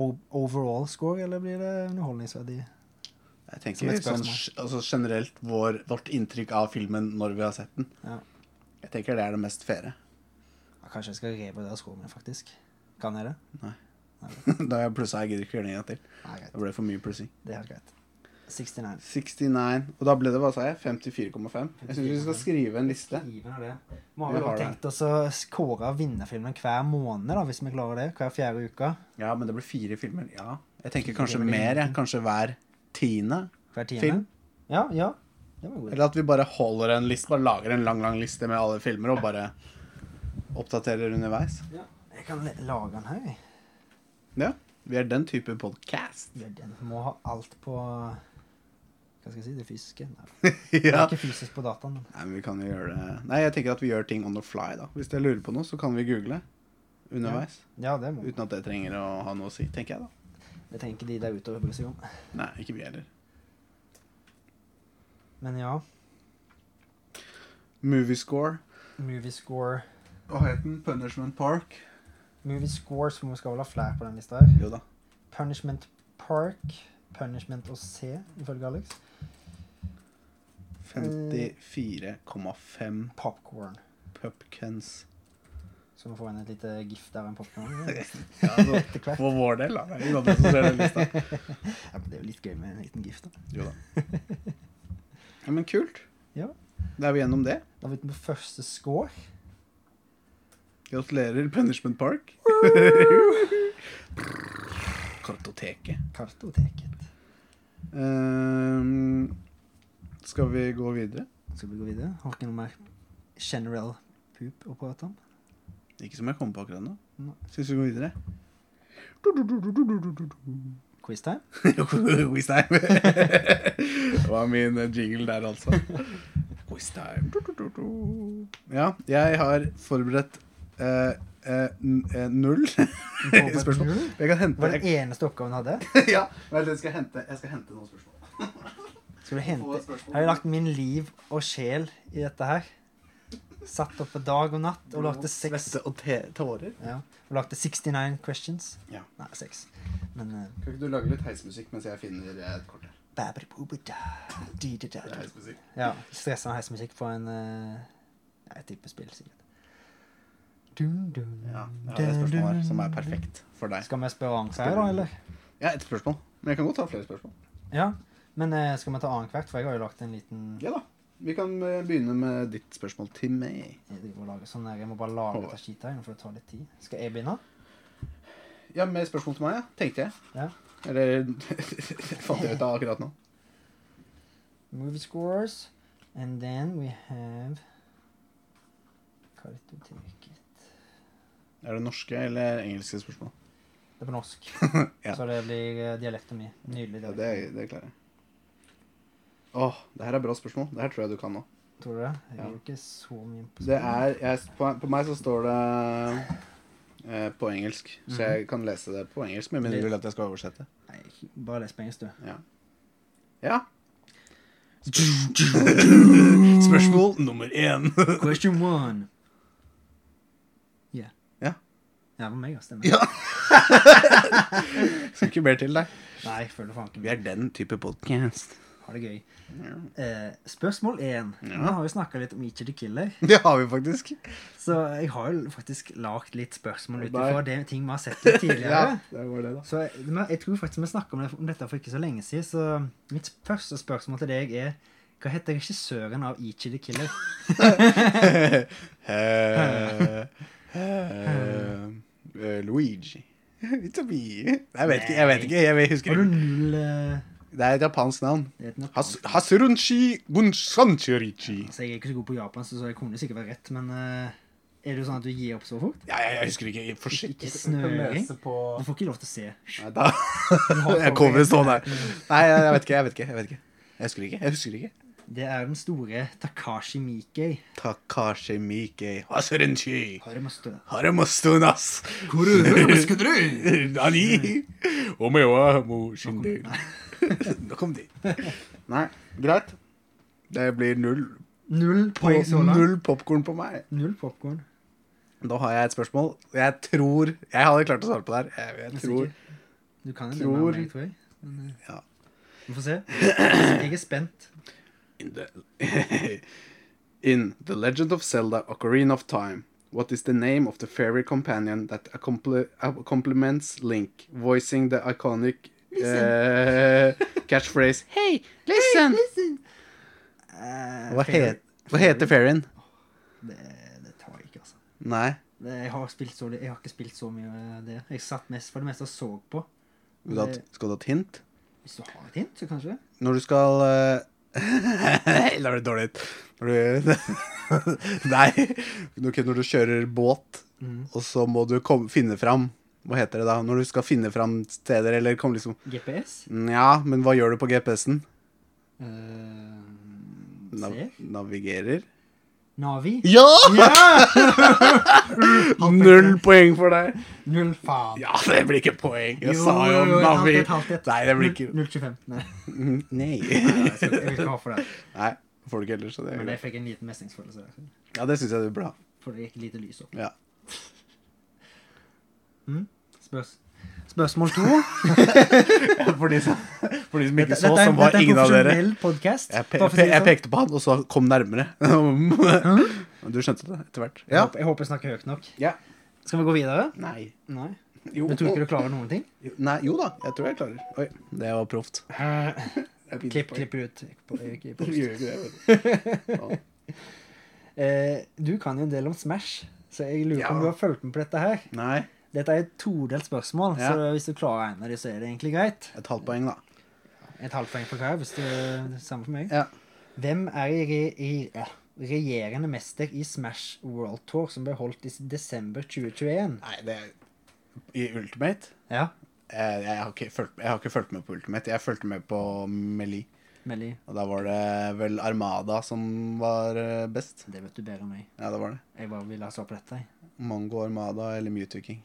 o- overall score, eller blir det underholdningsverdi?
Jeg
Som
tenker
et
sånn,
spørsmål.
altså generelt vår, vårt inntrykk av filmen når vi har sett den.
Ja.
Jeg tenker det er det mest faire.
Ja, kanskje jeg skal revurdere scoren min, faktisk. Kan jeg det?
da har jeg plussa, jeg gidder ikke gjøre det en gang til.
Nei, greit.
Det ble for mye plussing.
Det er helt greit. 69.
69, og da ble det, hva sa jeg, 54,5. Jeg syns vi skal skrive en liste.
Skriven er det. Vi har
Vi
vel
har det.
tenkt oss å kåre vinnerfilmen hver måned, da, hvis vi klarer det. Hver fjerde uke.
Ja, men det blir fire filmer. Ja. Jeg tenker kanskje
filmer.
mer, jeg. Kanskje hver tiende.
Hver tiende.
Film.
Ja, ja. Det var en god idé.
Eller at vi bare holder en liste, bare lager en lang, lang liste med alle filmer, og bare oppdaterer underveis.
Ja. Jeg kan le- lage den her, jeg.
Ja. Vi er den type podcast.
Ja, Den må ha alt på Hva skal jeg si? Det fysiske? Nei. Det er
ja.
ikke fysisk på dataen. men-
Nei, men vi kan jo gjøre det Nei, jeg tenker at vi gjør ting on the fly, da. Hvis jeg lurer på noe, så kan vi google underveis.
Ja, det må
Uten at det trenger å ha noe å si, tenker jeg, da.
Det trenger ikke de der ute å bry seg om.
Nei, ikke vi heller.
Men ja.
Moviescore.
Movie score
Hva het den? Punishment Park?
Movie score, så vi skal vel ha flere på den lista her.
Jo da.
Punishment Park. Punishment og C, ifølge Alex.
54,5
Popcorn.
pupkins.
Så vi får inn et lite gif der av en popcorn.
Ja, altså,
Etter hvert.
for vår del, da. Det er ingen andre som ser den lista.
Ja, men det er jo litt gøy med en liten gif, da.
Jo da. Ja, men kult.
Ja.
Da er vi gjennom det.
Da er vi ute på første score.
Gratulerer, Punishment Park. Kartoteket.
Kartoteket.
Ehm, skal vi gå videre?
Skal vi gå videre? Har ikke noe mer general poop å prate om?
Ikke som jeg kommer på akkurat nå.
Nei.
Syns vi går videre?
Quiztime?
Quiz time. det var min jingle der, altså. Quiz time. Ja, jeg har forberedt eh, eh, n- eh, null spørsmål. Jeg kan hente
Var det den eneste oppgaven du hadde?
ja, vent, jeg skal hente, jeg skal hente noen spørsmål.
Skal du hente
Få spørsmål.
Jeg har jo lagt min liv og sjel i dette her. Satt opp på dag og natt og lagde seks
Svette og te tårer.
ja, Og lagde 69 questions.
Ja.
Nei, seks. Men eh,
Kan ikke du lage litt heismusikk mens jeg finner eh, et kort her?
Babribubuda, di-di-da-da.
Det er helt spesielt.
Ja, stressa heismusikk på en eh, Jeg tipper spill, sikkert. Dun, dun,
Ja, jeg har et spørsmål her som er perfekt for deg.
Skal vi spørre annenhver, da, eller?
Ja, ett spørsmål. Men jeg kan godt ta flere spørsmål.
Ja. Men eh, skal vi ta annenhvert, for jeg har jo lagt en liten
Ja da. Vi kan eh, begynne med ditt spørsmål til meg.
Jeg driver og lager sånn der, jeg må bare lage dette skitet her, nå, for det tar litt tid. Skal jeg begynne?
Ja, med spørsmål til meg, ja. Tenkte jeg.
Ja.
Eller fant jeg ut av akkurat nå.
Movie scores. And then we have Kartoteket.
Er det norske eller engelske spørsmål?
Det er på norsk,
Ja.
så det blir eh, dialekten min. Nydelig
Ja,
dialekt.
det, det klarer jeg. Åh, det her er bra spørsmål. Det her tror jeg du kan nå.
Tror du det? Jeg er
Ja.
jo ikke så mye på
Det er jeg, på, på meg så står det eh, på engelsk, så jeg kan lese det på engelsk, men mindre du Mhm. vil at jeg skal oversette.
Nei, bare les på engelsk, du.
Ja. ja. Spørsmål nummer én.
Question one. Yeah.
Ja.
Ja, det var meg, altså.
Ja. Skal ikke mer til deg.
Nei, jeg føler faen ikke
Vi er den type podcast.
Ha det gøy. Eh, spørsmål én.
Ja.
Nå har vi snakka litt om Each the Killer,
Det har vi faktisk.
så jeg har jo faktisk lagd litt spørsmål ut
Nei.
ifra det- ting vi har sett litt tidligere.
det var det, da.
Så jeg, men jeg tror faktisk vi snakka om, det, om dette for ikke så lenge siden, så mitt første spørsmål til deg er Hva heter regissøren av Each the Killer?
Eh, eh, eh, Luigi. It's a me. Jeg vet ikke, jeg vet ikke. Jeg husker
Har du
ikke.
null eh,
Det er et japansk navn.
det heter noe-
Has Hasurunchi Bunsanchirichi.
Altså, jeg er ikke så god på japansk, så jeg kunne sikkert være rett, men eh, er det jo sånn at du gir opp så fort?
Ja, jeg, jeg husker ikke. For shit.
Ikke
Du kan
snøring?
lese på
Du får ikke lov til å se.
Nei, da. Jeg kommer til å stå der. Nei, jeg, jeg vet ikke. Jeg vet ikke. Jeg vet ikke. Jeg husker ikke. Jeg husker ikke.
Det er den store Takashi Miike.
Takashi Miki Hasurunchi.
Haremastu.
Haremastunas. Nani? Omeo wa mo shinde. Nå kom de. Nei, greit. Det blir null,
Null
på,
poeng så langt.
null popkorn på meg.
Null popkorn.
Da har jeg et spørsmål. Jeg tror Jeg hadde klart å svare på det her. Jeg, jeg tror
Du kan jo det
Tror-
med meg, tror jeg. Men, eh,
Ja.
Vi får se. Jeg er spent.
In the, in the Legend of Zelda Ocarina of Time, what is the name of the fairy companion that accompli- complements Link, voicing the iconic uh, catchphrase Hey, listen!
Eh,
Hva,
fair.
het, hva heter fairien?
Det, det tar jeg ikke, altså.
Nei,
Det- Jeg har, spilt så, jeg har ikke spilt så mye av det. Jeg satt mest for det meste og så på.
vil du ha, et- skal du ha et hint?
Hvis du har et hint, så kanskje.
Når du skal eh, La det dårlig ut. Når du Nei. Ok, når du kjører båt, og så må du komme, finne fram Hva heter det da? Når du skal finne fram steder, eller komme liksom
GPS?
Nja, men hva gjør du på GPS-en?
Eh,
Nav
ser?
navigerer?
Navi?
Ja! Null poeng for deg.
Null faen.
Ja, det blir ikke poeng. Jeg
Jo,
sa jo
jo, jo, et halvt,
Navi.
et halvt, et.
Nei, det blir ikke
0,25. Nei,
Mm, Nei.
jeg skal- jeg vil ikke ha for det.
Nei, får du ikke heller, så det er
Men jeg
greit.
fikk en liten mestringsfølelse der.
Ja, det syns jeg du burde ha.
For det gikk lite lys opp.
Ja.
Mm? Spørs. Spørsmål to.
For de som, for de som ikke
Dette-
så,
dette er-
som var
dette er en
ingen av dere.
profesjonell podcast.
Jeg, pe
Bare for å si det
jeg
sånn.
pekte på han, og så kom nærmere. Men du skjønte det etter hvert.
Jeg håper- Jeg håper jeg snakker høyt nok.
Ja.
Skal vi gå videre?
Nei.
Nei.
Jo.
Jeg tror ikke du klarer noen ting.
Nei, jo da, jeg tror jeg klarer. Oi, det var proft. Jeg begynner
Klipp,
på-
klipp ut. På- i- i
Du
post.
gjør ikke det, vet du. Ja.
Eh, du kan jo en del om Smash, så jeg lurer på om
Ja.
du har fulgt med på dette her.
Nei,
Dette er et todelt spørsmål,
Ja.
så hvis du klarer en av dem, så er det egentlig greit.
et halvt poeng, da.
Et halvt poeng for hver, hvis du det er samme for meg.
Ja.
Hvem er i, re, i ja, regjerende mester i Smash World Tour, som ble holdt i s- desember 2021?
Nei, det er I Ultimate
Ja,
Jeg, jeg, har ikke fulgt, jeg har ikke fulgt med på Ultimate. Jeg fulgte med på Meli.
Melly.
Og da var det vel Armada som var eh, best.
Det vet du bedre enn meg.
Ja, det var det.
Jeg bare ville ha svar på dette. jeg.
Mango Armada eller Mewtwo King.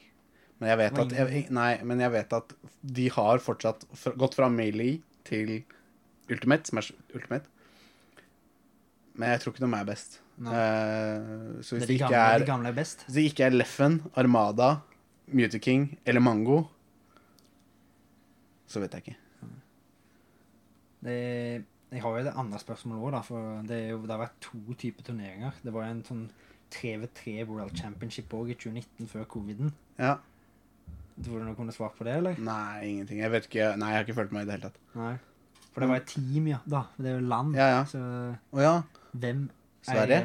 Men jeg vet
Og
at, jeg, nei, men jeg vet at de har fortsatt fra, gått fra Melee til Ultimate, Smash Ultimate. Men jeg tror ikke de er best.
Nei.
Eh, så
Det
hvis
er
det
de
ikke
gamle,
er,
de gamle er best.
hvis det ikke er Leffen, Armada, Mewtwo King eller Mango, så vet jeg ikke.
Det, jeg har jo det andre spørsmålet òg, for det, er jo, det har vært to typer turneringer. Det var en sånn 3v3 World Championship òg i 2019, før coviden.
Ja.
Tror du noen kunne svart på det, eller?
Nei, ingenting. Jeg vet ikke. Nei, jeg har ikke følt meg i det hele tatt.
Nei. For det var et team, ja. da. Det er jo land.
Ja, ja.
Så
Å ja.
hvem
Sverige?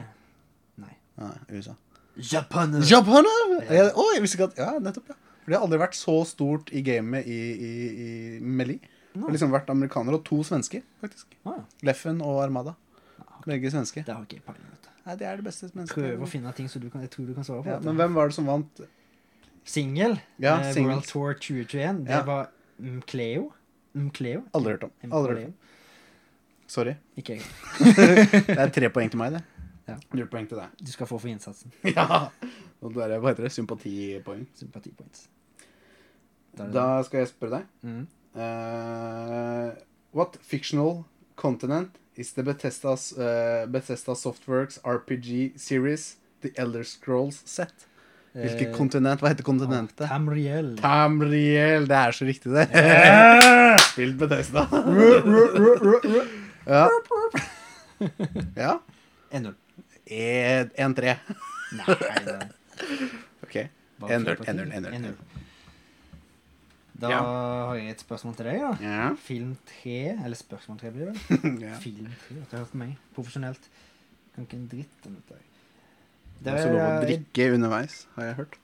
Nei.
Nei, USA.
Japan!
Japan! Ja. Oi, jeg visste ikke at Ja, nettopp, ja. For det har aldri vært så stort i gamet i, i, i Meli. Det har liksom vært amerikanere og to svensker, faktisk.
Ah,
Leffen og Armada. Begge svenske.
det har ikke jeg peiling på. vet du.
Nei, det er det beste mennesket.
Prøv å finne ting som du kan, jeg tror du kan svare på.
Ja,
vet du.
men hvem var det som vant?
Singel.
Ja,
eh,
singel.
World Tour 2021. Det
Ja.
var Mcleo. Mcleo.
Aldri hørt om. Aldri hørt om. Sorry.
Ikke jeg.
Det er tre poeng til meg, det.
Ja.
Null poeng til deg.
Du skal få for innsatsen.
Ja. Og da er det, hva heter det? Sympatipoeng.
Sympatipoints. Da er det
Da skal jeg spørre deg.
Mm.
Eh, what fictional continent is the Bethesda's, eh, Bethesda Softworks RPG series The Elder Scrolls set? Hvilket
Eh,
kontinent? Hva heter kontinentet?
Tamriel.
Tamriel. Det er så riktig, det.
Eh!
Spilt Bethesda. ja. ja.
1-0.
1-3.
Nei, det er
OK.
bare
1-0,
fem på ti.
1-0, 1-0.
1-0. Da
Ja.
har jeg et spørsmål til deg, da.
Ja.
Film 3, eller spørsmål 3 blir det vel?
ja.
Film 3, dette har jeg hørt på meg. Profesjonelt. Kan ikke en dritt om dette.
Det er så lov å drikke underveis, har jeg hørt.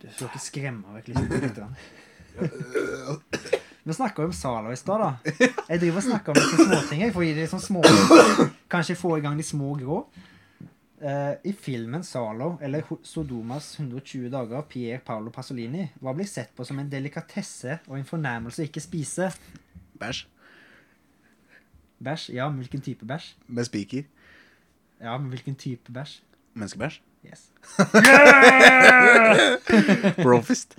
Du skal ikke skremme vekk liksom litt. grann. Vi snakka jo om Zalo i stad, da. Jeg driver og snakker om disse småtingene. Jeg får gi de sånn små Kanskje få i gang de små grå. Eh, I filmen Zalo, eller Ho- Sodomas 120 dager, av Pier Paolo Pasolini, hva blir sett på som en delikatesse og en fornærmelse å ikke spise?
Bæsj.
Bæsj? Ja, men hvilken type bæsj?
Med spiker.
Ja, men hvilken type bæsj?
Menneskebæsj.
Yes.
Brofist.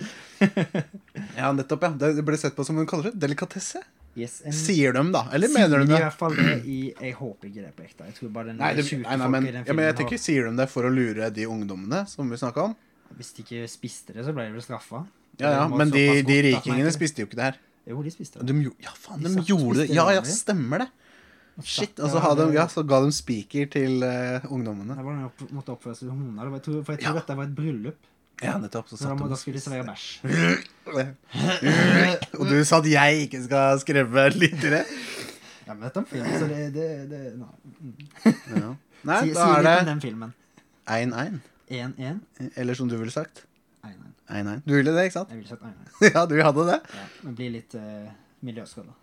ja, nettopp, ja. Det det ble sett på som hun kaller det. Delikatesse.
yes en,
Sier de, da? Eller
sier
mener de
de i
det?
hvert fall det i Jeg håper ikke det er på ekte. Jeg tror bare den
Nei, det,
sjuke
nei, nei,
folk
men,
i den
ja, men jeg
filmen har-
tenker, sier de det for å lure de ungdommene som vi snakka om?
Hvis de ikke spiste det, så ble de vel straffa.
Ja, ja,
Det var
men de, de
såpass godt at man
rikingene
ikke-
spiste jo ikke det her.
Jo, de spiste det.
De, gjo- ja, faen,
De
de
satt og
gjorde det.
spiste
Ja, ja,
vanlig.
stemmer det. Shit. Og så,
Ja,
hadde de,
det-
ja, så ga de spiker til eh, ungdommene.
Der var den opp, måtte oppføre seg som hunder. Jeg tror, for jeg tror
Ja.
dette var et bryllup.
Ja, nettopp. Så
Så da,
satt
må,
de
da
og
skulle de servere bæsj.
Og du sa at jeg ikke skal skremme lyttere?
Ja, men dette er en film, så det, det, det nei.
Ja. Nei,
Si, si
da er
litt om
det
den filmen.
1-1.
1-1.
Eller som du ville sagt
1-1.
1-1. Du ville det, ikke sant?
Jeg ville sagt 1-1.
Ja, du hadde det.
Ja, men bli litt uh, miljøskada.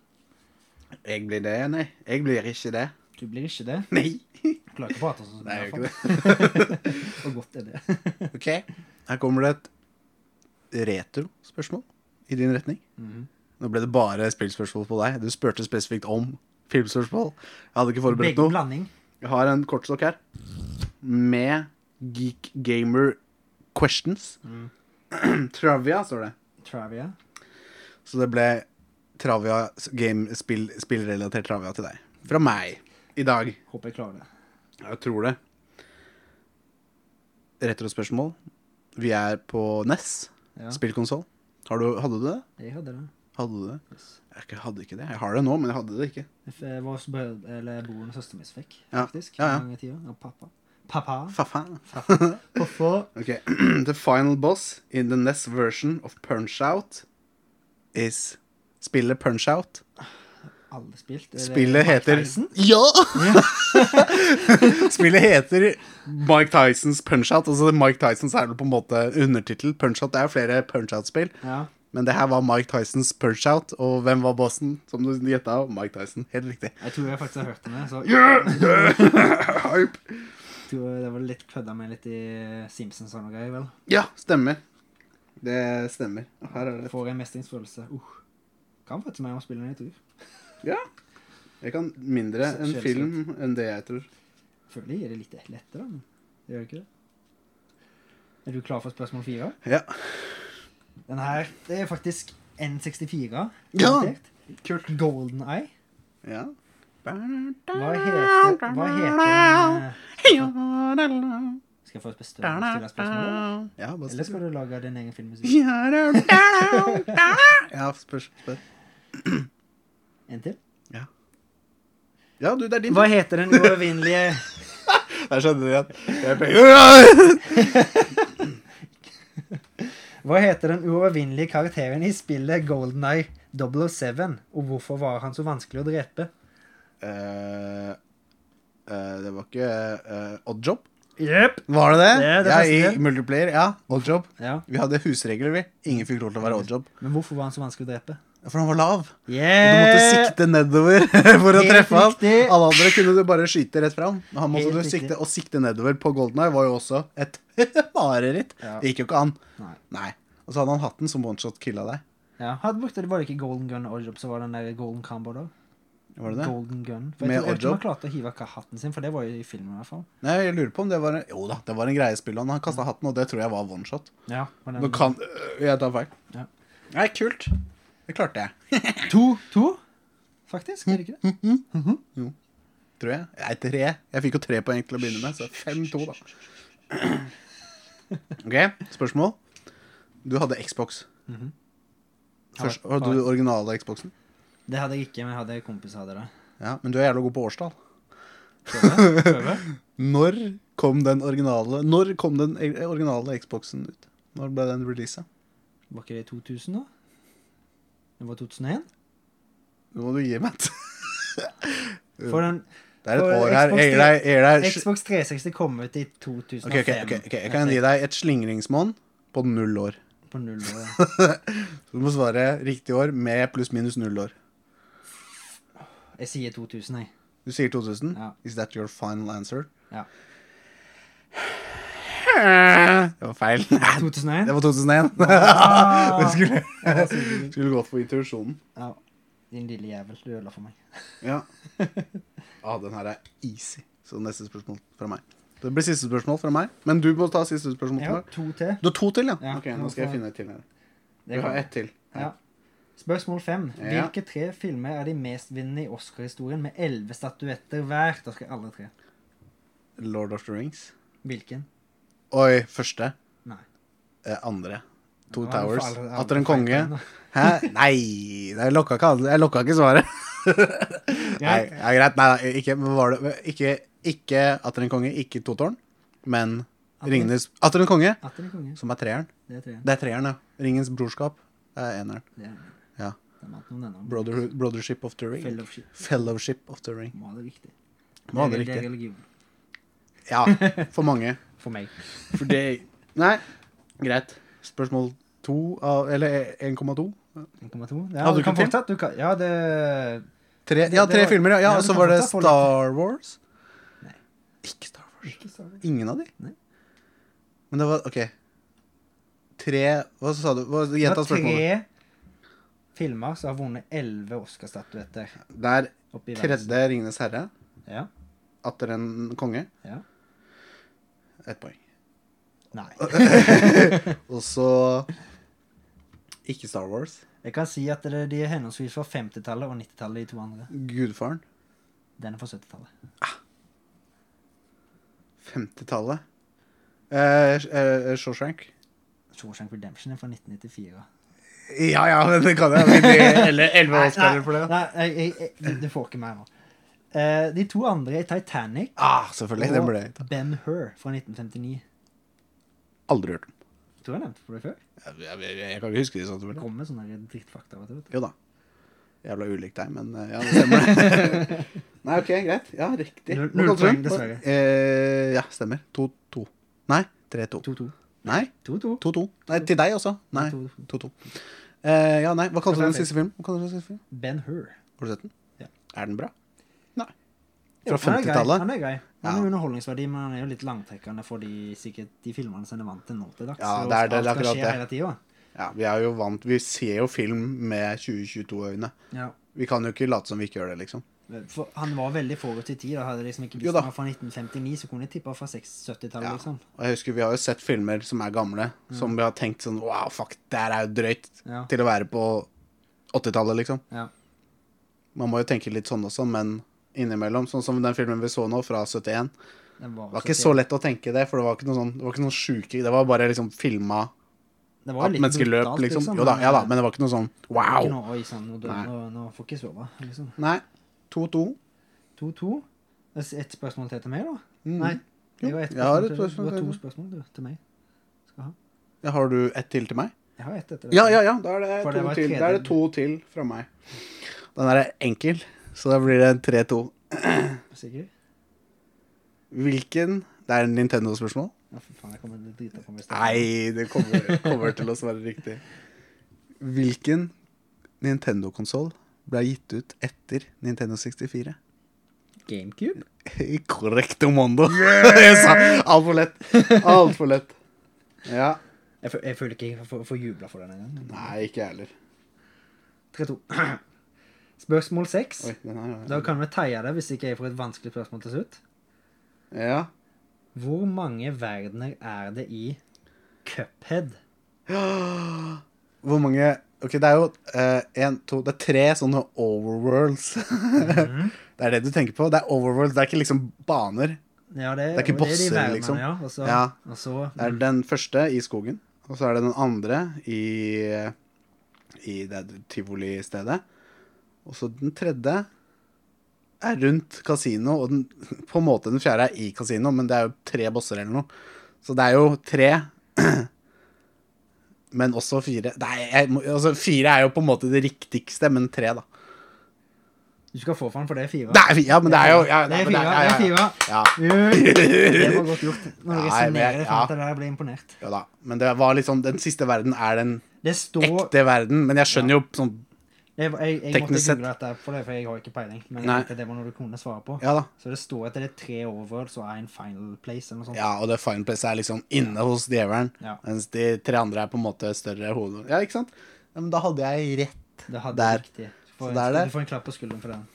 Jeg blir det, nei. Jeg blir ikke det.
Du blir ikke det.
Nei.
Du klarer ikke å prate sånn som
Det er
jeg
jo ikke det.
Og godt er det.
Ok, her kommer det et retrospørsmål i din retning.
Mhm.
Nå ble det bare spillspørsmål på deg. Du spurte spesifikt om filmspørsmål. Jeg hadde ikke forberedt
Begge
noe.
blanding.
Jeg har en kortstokk her med Geek Gamer Questions.
Mhm.
Travia, står det.
Travia.
Så det ble travia, game, spill, spillrelatert travia til deg. Fra meg i dag.
Håper jeg klarer det.
Jeg tror det. Retrospørsmål. Vi er på NES.
Ja.
Spillkonsoll. Har du- Hadde du det?
Jeg hadde det.
Hadde du det?
Yes.
Jeg ikke- hadde ikke det. Jeg har det nå, men jeg hadde det ikke.
Det f- var også brød, eller broren og søsteren min som fikk,
Ja,
faktisk.
ja, ja.
mange tider. Og pappa. Pappa.
Fa-faen.
Pappa.
Ok. The final boss in the NES version of Punch-Out is Spillet Punch-Out.
Alle spilt. Er det
Spillet
Mike
heter
Tyson?
Ja! Spillet heter Mike Tysons Punch-Out. Altså Mike Tysons er vel på en måte undertittel. Punch-Out det er jo flere Punch-Out-spill.
Ja.
Men det her var Mike Tysons Punch-Out, og hvem var bossen? Som du gjetta, Mike Tyson. Helt riktig.
Jeg tror jeg faktisk har hørt den. Så
Hype.
jeg tror det var litt kødda med litt i Simpsons og noe greier, vel.
Ja, stemmer. Det stemmer. Her er det
Får en mestringsfølelse. Uh. Kan faktisk mer om spillet enn jeg tror.
Ja. Jeg kan mindre enn
Selvsagt.
film enn det jeg tror.
Føler jeg gir det litt lettere, men det gjør ikke det. Er du klar for spørsmål fire?
Ja.
Den her, det er faktisk N64.
Ja.
Kult. Golden Eye.
ja.
Hva heter, hva heter den eh, Skal jeg først bestemme stille spørsmål?
Ja, bare spør.
Eller skal du lage din egen filmmusikk?
Ja, spørs. Spør.
En til.
Ja, du, det er din
Hva heter den uovervinnelige
Der skjønner de at jeg penger.
Hva heter den uovervinnelige karakteren i spillet GoldenEye 007, og hvorfor var han så vanskelig å drepe?
Eh, eh, det var ikke eh, Oddjob?
Jepp.
Var det det?
Det er det
ja,
beste.
i multiplayer. Ja, Oddjob.
Ja,
Vi hadde husregler, vi. Ingen fikk lov til å være Oddjob.
men hvorfor var han så vanskelig å drepe?
For han var lav. Du
Yeah!
måtte sikte nedover for å
Eh, Helt
treffe han.
riktig.
Alle andre kunne du bare skyte rett fram. Men Han måtte
Helt
du
riktig.
sikte, og sikte nedover på Golden Eye var jo også et mareritt.
Ja.
Det gikk jo ikke an.
Nei.
Nei. Og så hadde han hatten som one-shot killa deg.
Ja, han brukte det bare ikke Golden Gun og Oddjob, så var det den der Golden Combo da.
Var det det?
Golden Gun. For
Med
jeg tror jeg tror
Oddjob?
man klarte å hive av hatten sin, for det var jo i filmen i hvert fall.
Nei, jeg lurer på om det var en Jo da, det var en greie spillet. Han kasta hatten, og det tror jeg var one-shot.
Ja, og den-
Nå kan øh, Jeg tar feil.
Ja.
Nei, kult. Det klarte jeg.
To, to, faktisk, er det ikke det?
Tror jeg. Nei, tre. Jeg fikk jo tre poeng til å begynne med, så fem-to, da. OK, spørsmål. Du hadde Xbox.
Mhm.
Først, hadde du originale Xboxen?
Det hadde jeg ikke, men jeg hadde kompiser hadde det.
Ja, Men du er jævla god på årstall.
Prøve, prøve.
Når kom den originale Når kom den e- originale Xboxen ut? Når ble den releasa?
Var ikke det i 2000 da? Det var 2001?
Nå må du gi meg et
For den
Det er et
For
år her.
Xbox
Jeg gir deg- jeg gir deg sj-
Xbox 360 kom ut i 2005.
Ok, ok, ok, ok, Jeg kan gi deg et slingringsmonn på null år.
På null år. ja.
Så du må svare riktig år med pluss-minus null år.
Jeg sier 2000, jeg.
Du sier 2000.
Ja.
Is that your final answer?
Ja.
Det var feil. Det
2001?
var 2001.
Ah!
Det skulle,
Ja, det sier du.
skulle gått for intuisjonen.
Ja. Din lille jævel, du ødela for meg.
Ja. Ah, den her er easy. Så neste spørsmål fra meg. Det blir siste spørsmål fra meg, men du må ta siste spørsmål
Jeg
fra
har
meg.
to til.
Du har to til, ja?
Ja,
Ok, nå skal jeg finne et til her.
Det
Du har
kan-
ett til.
Ja. Spørsmål fem.
Ja.
Hvilke tre filmer er de mestvinnende i Oscar-historien med elleve statuetter hver? Da skal jeg alle tre.
Lord of the Rings.
Hvilken?
Oi, første.
Nei.
Eh, andre. To
Nå er det for
Towers.
alle- alle
Atter en
feil
konge.
nå.
Hæ? Nei, jeg lokka ikke, alle- jeg lokka ikke svaret. Nei,
Greit.
ja, greit. Nei, nei, ikke, men var det, ikke, ikke Atter en konge, ikke Totårn, men
Atter-
Ringenes Atter en konge,
Atter en konge.
som er treeren.
Det er tre.
Det er treeren, ja. Ringens brorskap er eneren.
Det er,
Ja.
det er mat noen ennå.
Brother, brothership of the ring.
Fellowship.
Fellowship of the ring.
Må ha det riktig.
Må ha det
Det er
riktig.
religion.
Ja, for mange.
For meg.
For det Nei, greit. Spørsmål to av Eller 1,2?
1,2. Ja,
Hadde du
du kan
ikke til?
fortsette. Du kan, ja, det
Tre, ja,
det
tre
var-
filmer, ja.
ja,
ja
du
og så
kan
var det
fortsette, fortsette.
Star Wars.
Nei.
Ikke Star Wars.
Ikke Star Wars.
Ingen av de?
Nei.
Men det var OK. Tre Hva sa du? Hva-
Det
Gjenta
var
spørsmålet.
tre filmer som har vunnet elleve Oscar-statuetter.
Det er
oppi verden.
tredje Ringenes herre.
Ja.
Atter en konge.
ja.
Ett poeng.
Nei.
Og så Ikke Star Wars.
Jeg kan si at det, de er henholdsvis fra 50-tallet og 90-tallet, de to andre.
Gudfaren.
Den er fra 70-tallet.
50-tallet. Eh, eh, Shawshank.
Shawshank Redemption er fra 1994.
Ja ja, men det kan jeg. men det- Eller elleve
Nei,
Oscarer for det. da.
nei, nei, jeg, jeg, du- du får ikke meg nå. Eh, de to andre er Titanic
Ah, selvfølgelig. Den burde jeg gitt.
og Ben Hur fra 1959.
Aldri hørt om.
Tror jeg nevnte for deg før.
Jeg, jeg, jeg, jeg kan ikke huske det sånn.
Det kommer sånne her drittfakta. Vet du, vet du.
Jo da. Jævla ulik deg, men eh, ja, det stemmer. det. Nei, OK, greit. Ja, riktig.
Null-
Hva
null
kalte du
poeng,
den?
dessverre.
Eh, ja, stemmer. 2-2. Nei, 3-2.
2-2.
Nei,
2-2.
2-2. Nei, til deg også. Nei,
2-2.
2-2. Eh, ja, nei, hva kalte du den
Det er
siste filmen? Hva kalte du den siste filmen?
Ben Hur.
Har du sett den?
Ja.
Er den bra? Nei. Fra
Jo, han er grei,
50-tallet?
Han er grei. Han
Ja.
har underholdningsverdi, men han er jo litt langtrekkende for de, sikkert de filmene som er vant til nå til dags.
Ja,
og
det er- det er
alt skal
akkurat
skje
det.
hele tiden.
Ja, vi er jo vant Vi ser jo film med 2022-øyne.
Ja.
Vi kan jo ikke late som vi ikke gjør det, liksom.
For han var veldig forut i tid. Da. Hadde jeg liksom ikke
Jo
visst
da.
han var fra 1959, så kunne jeg tippa fra 70-tallet.
Ja.
Liksom.
Og jeg husker Vi har jo sett filmer som er gamle, som vi har tenkt sånn Wow, fuck, det her er jo drøyt.
Mm. Ja.
Til å være på 80-tallet, liksom.
Ja.
Man må jo tenke litt sånn også, men innimellom. Sånn som den filmen vi så nå, fra 71.
Den
Det var ikke så lett å tenke det, for det var ikke noe sånn Det var ikke noe sjuke Det var bare liksom filma
det var jo
At
litt
mennesker løp,
brutalt,
liksom.
liksom,
Jo da,
men-
ja da, men det var ikke noe sånn
Ikke
wow.
noe, Oi sann, nå, dør-
Nei.
nå, nå får ikke sove. Liksom.
Nei. 2-2.
2-2. Et spørsmål til til meg, da?
Mm.
Nei. Det
Jo,
var ett
jeg har
spørsmål,
et spørsmål
til- Det var
til.
to spørsmål du, til meg. Skal ha.
Ja, Har du ett til til meg?
Jeg har ett etter
Ja, ja, ja. Da er det,
For
to,
det var
til.
tredje-
Da er det to til fra meg. Den er enkel, så da blir det 3-2.
Sikkert?
Hvilken Det er en Nintendo-spørsmål?
Ja, for faen, jeg kommer til å drite på meg. i stedet.
Nei, det kommer, kommer til å være riktig. Hvilken Nintendo-konsoll ble gitt ut etter Nintendo 64?
GameCube?
Korrekt, Omondo. Jeg sa altfor lett. Altfor lett. Ja.
Jeg, fø- jeg føler ikke jeg får, får jubla for den engang.
Nei, ikke jeg heller.
3-2. Spørsmål 6.
Oi, den
Da
her
kan vi teie det hvis ikke jeg får et vanskelig spørsmål til slutt.
Ja.
Hvor mange verdener er det i Cuphead?
Hvor mange Ok, det er jo eh, en, to Det er tre sånne overworlds. det er det du tenker på. Det er overworlds, det er ikke liksom baner.
Ja, det,
Det er ikke
og
bosser, liksom.
Ja, og så,
Ja.
Og så
Det er den første i skogen, og så er det den andre i, i det tivolistedet. Og så den tredje er rundt kasino, og den, på en måte den fjerde er i kasino, men det er jo tre bosser eller noe. Så det er jo tre, men også fire. Nei, jeg, må- altså fire er jo på en måte det riktigste, men tre, da.
Du skal få for den, for det er fire.
Det er, ja, men det er jo ja,
Det
nei,
er
men
fire.
ja, ja,
Det er
ja.
fire.
Ja,
Det var godt gjort. Når jeg
Nei, men jeg-
resonnerer
ja.
fram til det, jeg blir imponert.
jo da. Men det var liksom Den siste verden er den
Det står
ekte verden, men jeg skjønner jo sånn
Jeg, jeg, jeg måtte
Teknisk sett.
google dette, for, det, for jeg har ikke peiling. Men jeg
Nei.
tenkte det var noe du kunne svare på.
Ja da.
Så det står at det er tre overworlds og en final place eller noe sånt.
Ja, og The Final Place er liksom inne hos djevelen,
Ja.
mens de tre andre er på en måte større hoder. Ja, ikke sant? Ja, men da hadde jeg rett.
Det hadde
Der.
vært riktig. Du får,
Så
en,
der, der. Mm.
du får en klapp på skulderen for den.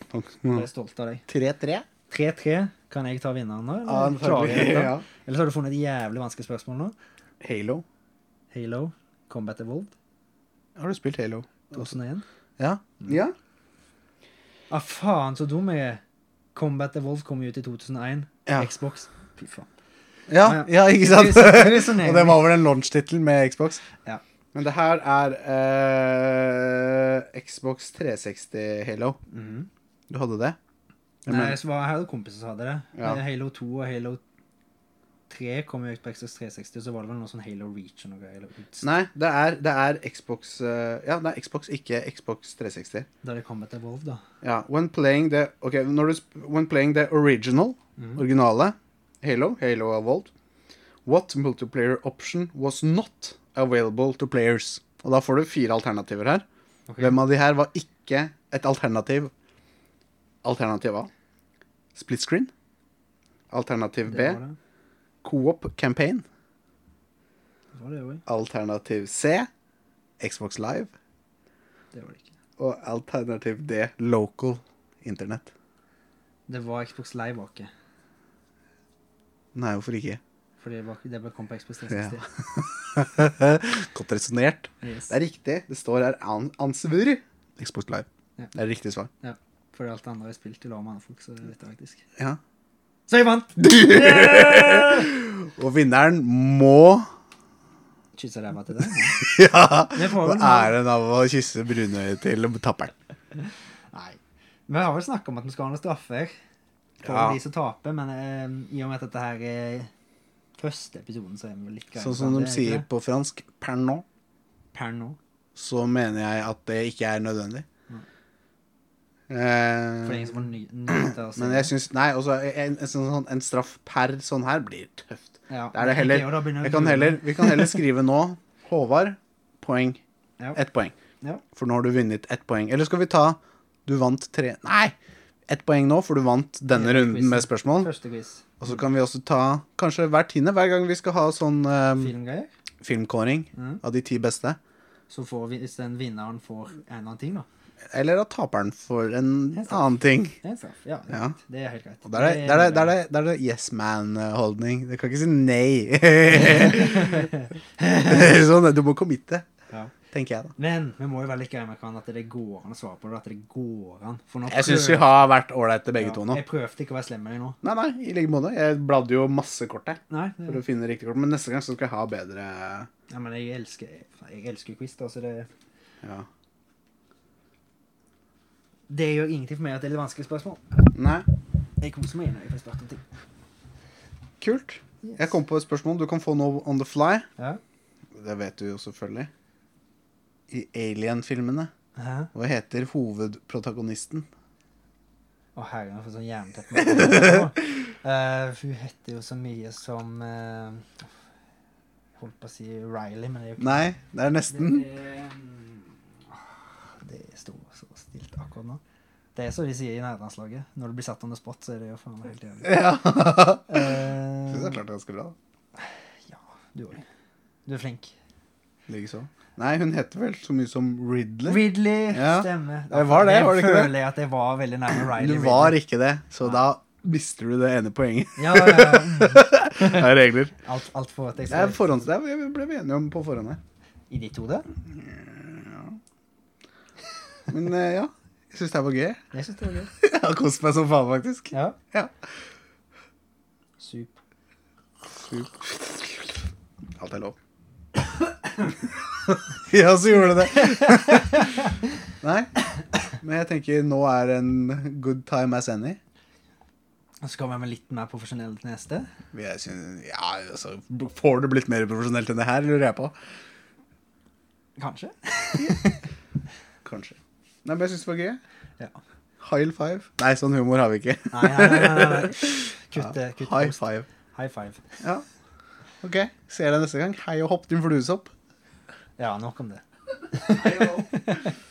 Jeg er stolt av deg.
3-3?
3-3. Kan jeg ta vinneren nå?
Ja,
Eller, klarer jeg dette?
ja.
eller så har du funnet et jævlig vanskelig spørsmål nå.
Halo.
Halo, Combat Evolved,
Har du spilt Halo?
2001.
Ja. ja.
Ah, faen, så dum jeg er. Combat Evolved kom jo ut i 2001.
Ja.
Xbox. Fy faen.
Ja, ja ikke sant?
Det resonerer.
og det var vel en launch-tittel med Xbox.
Ja.
Men det her er eh, Xbox 360 Halo.
Mhm.
Du hadde det? Jeg
Nei,
mener-
så var jeg hadde kompiser som hadde det.
Ja.
Men Halo 2 og Halo 3 kom jo ut på Xbox 360, og så var det vel noe sånn Halo Reach og noe greier. eller ut-
Nei, det er, det er Xbox eh, Ja, det er Xbox, ikke Xbox 360.
Da det kom et Evolve, da.
Ja, when playing the Ok, når du sp When playing the original
Mhm.
Originale Halo, Halo Evolved What multiplayer option was not available to players? Og da får du fire alternativer her
Ok.
Hvem av de her var ikke et alternativ? Alternativ A Split screen Alternativ B
Det var det.
Co-op campaign
Det var det jo,
Alternativ C Xbox Live
Det var det ikke.
Og alternativ D Local Internet
Det var Xbox Live, var ikke.
Nei, hvorfor ikke?
Fordi det, var, det ble- kom på Xbox
Ja.
360.
Godt resonert
Yes.
Det er riktig. Det står her an ansvar. Xbox Live.
Ja.
Det er riktig svar.
Fordi alt det andre er spilt i lag med andre folk, så det vet jeg faktisk.
Ja.
Så jeg vant!
Og vinneren må
Kyssa ræva til det.
Ja!
Det får
Få
vi nå.
æren av å kysse brunøyet til tapperen.
Nei. Vi har vel snakka om at vi skal ha noen straffer for
Ja.
de som taper, men eh, i og med at dette her er første episoden, så er vi vel litt greie
Sånn
på
som de
det, er ikke
sier
det?
på fransk per nå,
per nå.
så mener jeg at det ikke er nødvendig.
Mm. For det er
Eh,
ingen som får ny- nyte av å se
men jeg syns Nei, også en, en, sånn, en straff per sånn her blir tøft.
Ja,
Det er det
men
heller.
jo, da begynner
Jeg
vi
kan
å-
heller, vi kan heller skrive nå Håvard, poeng.
Ja.
Ett poeng.
Ja.
For nå har du vunnet ett poeng. Eller skal vi ta Du vant tre Nei! Ett poeng nå, for du vant denne
Hele
runden
quizen.
med spørsmål.
Første quiz.
Og så kan vi også ta kanskje hver tiende, hver gang vi skal ha sånn eh,
Filmgreier.
filmkåring
Mhm.
av de ti beste.
Så får vi, hvis den vinneren får en eller annen ting, da.
Eller at taperen får en
Helt sant.
annen ting.
Det er en straff. Ja, det er,
Ja.
greit. Det er helt greit.
Og Der er det, der er, der er, der er det yes man-holdning. Du kan ikke si nei. sånn, du må committe.
Ja.
tenker jeg da.
Men vi må jo være litt greie med hverandre at det går an å svare på det. At det går an. For nå
Jeg syns vi har vært ålreite begge
Ja,
to nå.
Jeg prøvde ikke å være slem med deg nå.
Nei, nei, i like måte. Jeg bladde jo masse kort jeg,
Nei,
for
det,
å finne riktig kort, men neste gang så skal jeg ha bedre
ja, men jeg elsker, jeg elsker quiz, da, så det
ja.
Det gjør ingenting for meg at det er litt vanskelige spørsmål.
Nei,
Jeg koser meg når jeg får spurt om ting.
kult. Jeg kom på et spørsmål du kan få nå on the fly.
Ja.
Det vet du jo selvfølgelig. I Alien-filmene.
Hæ?
Hva heter hovedprotagonisten?
Å, herregud, jeg får sånn jernteppe. Eh, hun heter jo så mye som eh, Holdt på å si Riley, men det er jo ikke
Nei, det er nesten.
Det, det, åh, det sto så stilt akkurat nå. Det er som de sier i nærlandslaget. Når du blir satt on the spot, så er det jo faen meg helt jævlig.
Ja. Synes jeg
Eh,
klarte det ganske bra. da.
du òg. Du er flink.
Likeså. Nei, hun heter vel så mye som Ridley.
Ridley.
Ja.
Stemmer.
Det var det, var det ikke det?
føler jeg at jeg var veldig nærme Riley.
Du var ikke det, så da mister du det ene poenget.
Ja, ja, ja. Mm.
Det er regler.
Alt, alt for at jeg
Det er forhånds... Det er, vi ble vi enige om på forhånd her.
I ditt hode?
Men eh, ja, jeg syns det var gøy.
Jeg syns det var gøy.
Jeg har kost meg som faen, faktisk.
Ja.
Ja.
Sup.
Alt er lov. ja, så gjorde det det. Nei, men jeg tenker nå er en good time as any.
Og så kan vi være litt mer profesjonelle til neste.
Jeg synes, ja, altså, får det blitt mer profesjonelt enn det her, lurer jeg på.
Kanskje.
Kanskje. Nei, men jeg syns det var gøy.
Ja.
High five. Nei, sånn humor har vi ikke.
Nei, nei, nei. nei, nei. Kutt det. kutt
High
post.
five.
High five.
Ja. Ok, ser deg neste gang. Hei og hopp, din fluesopp.
Ja, nok om det.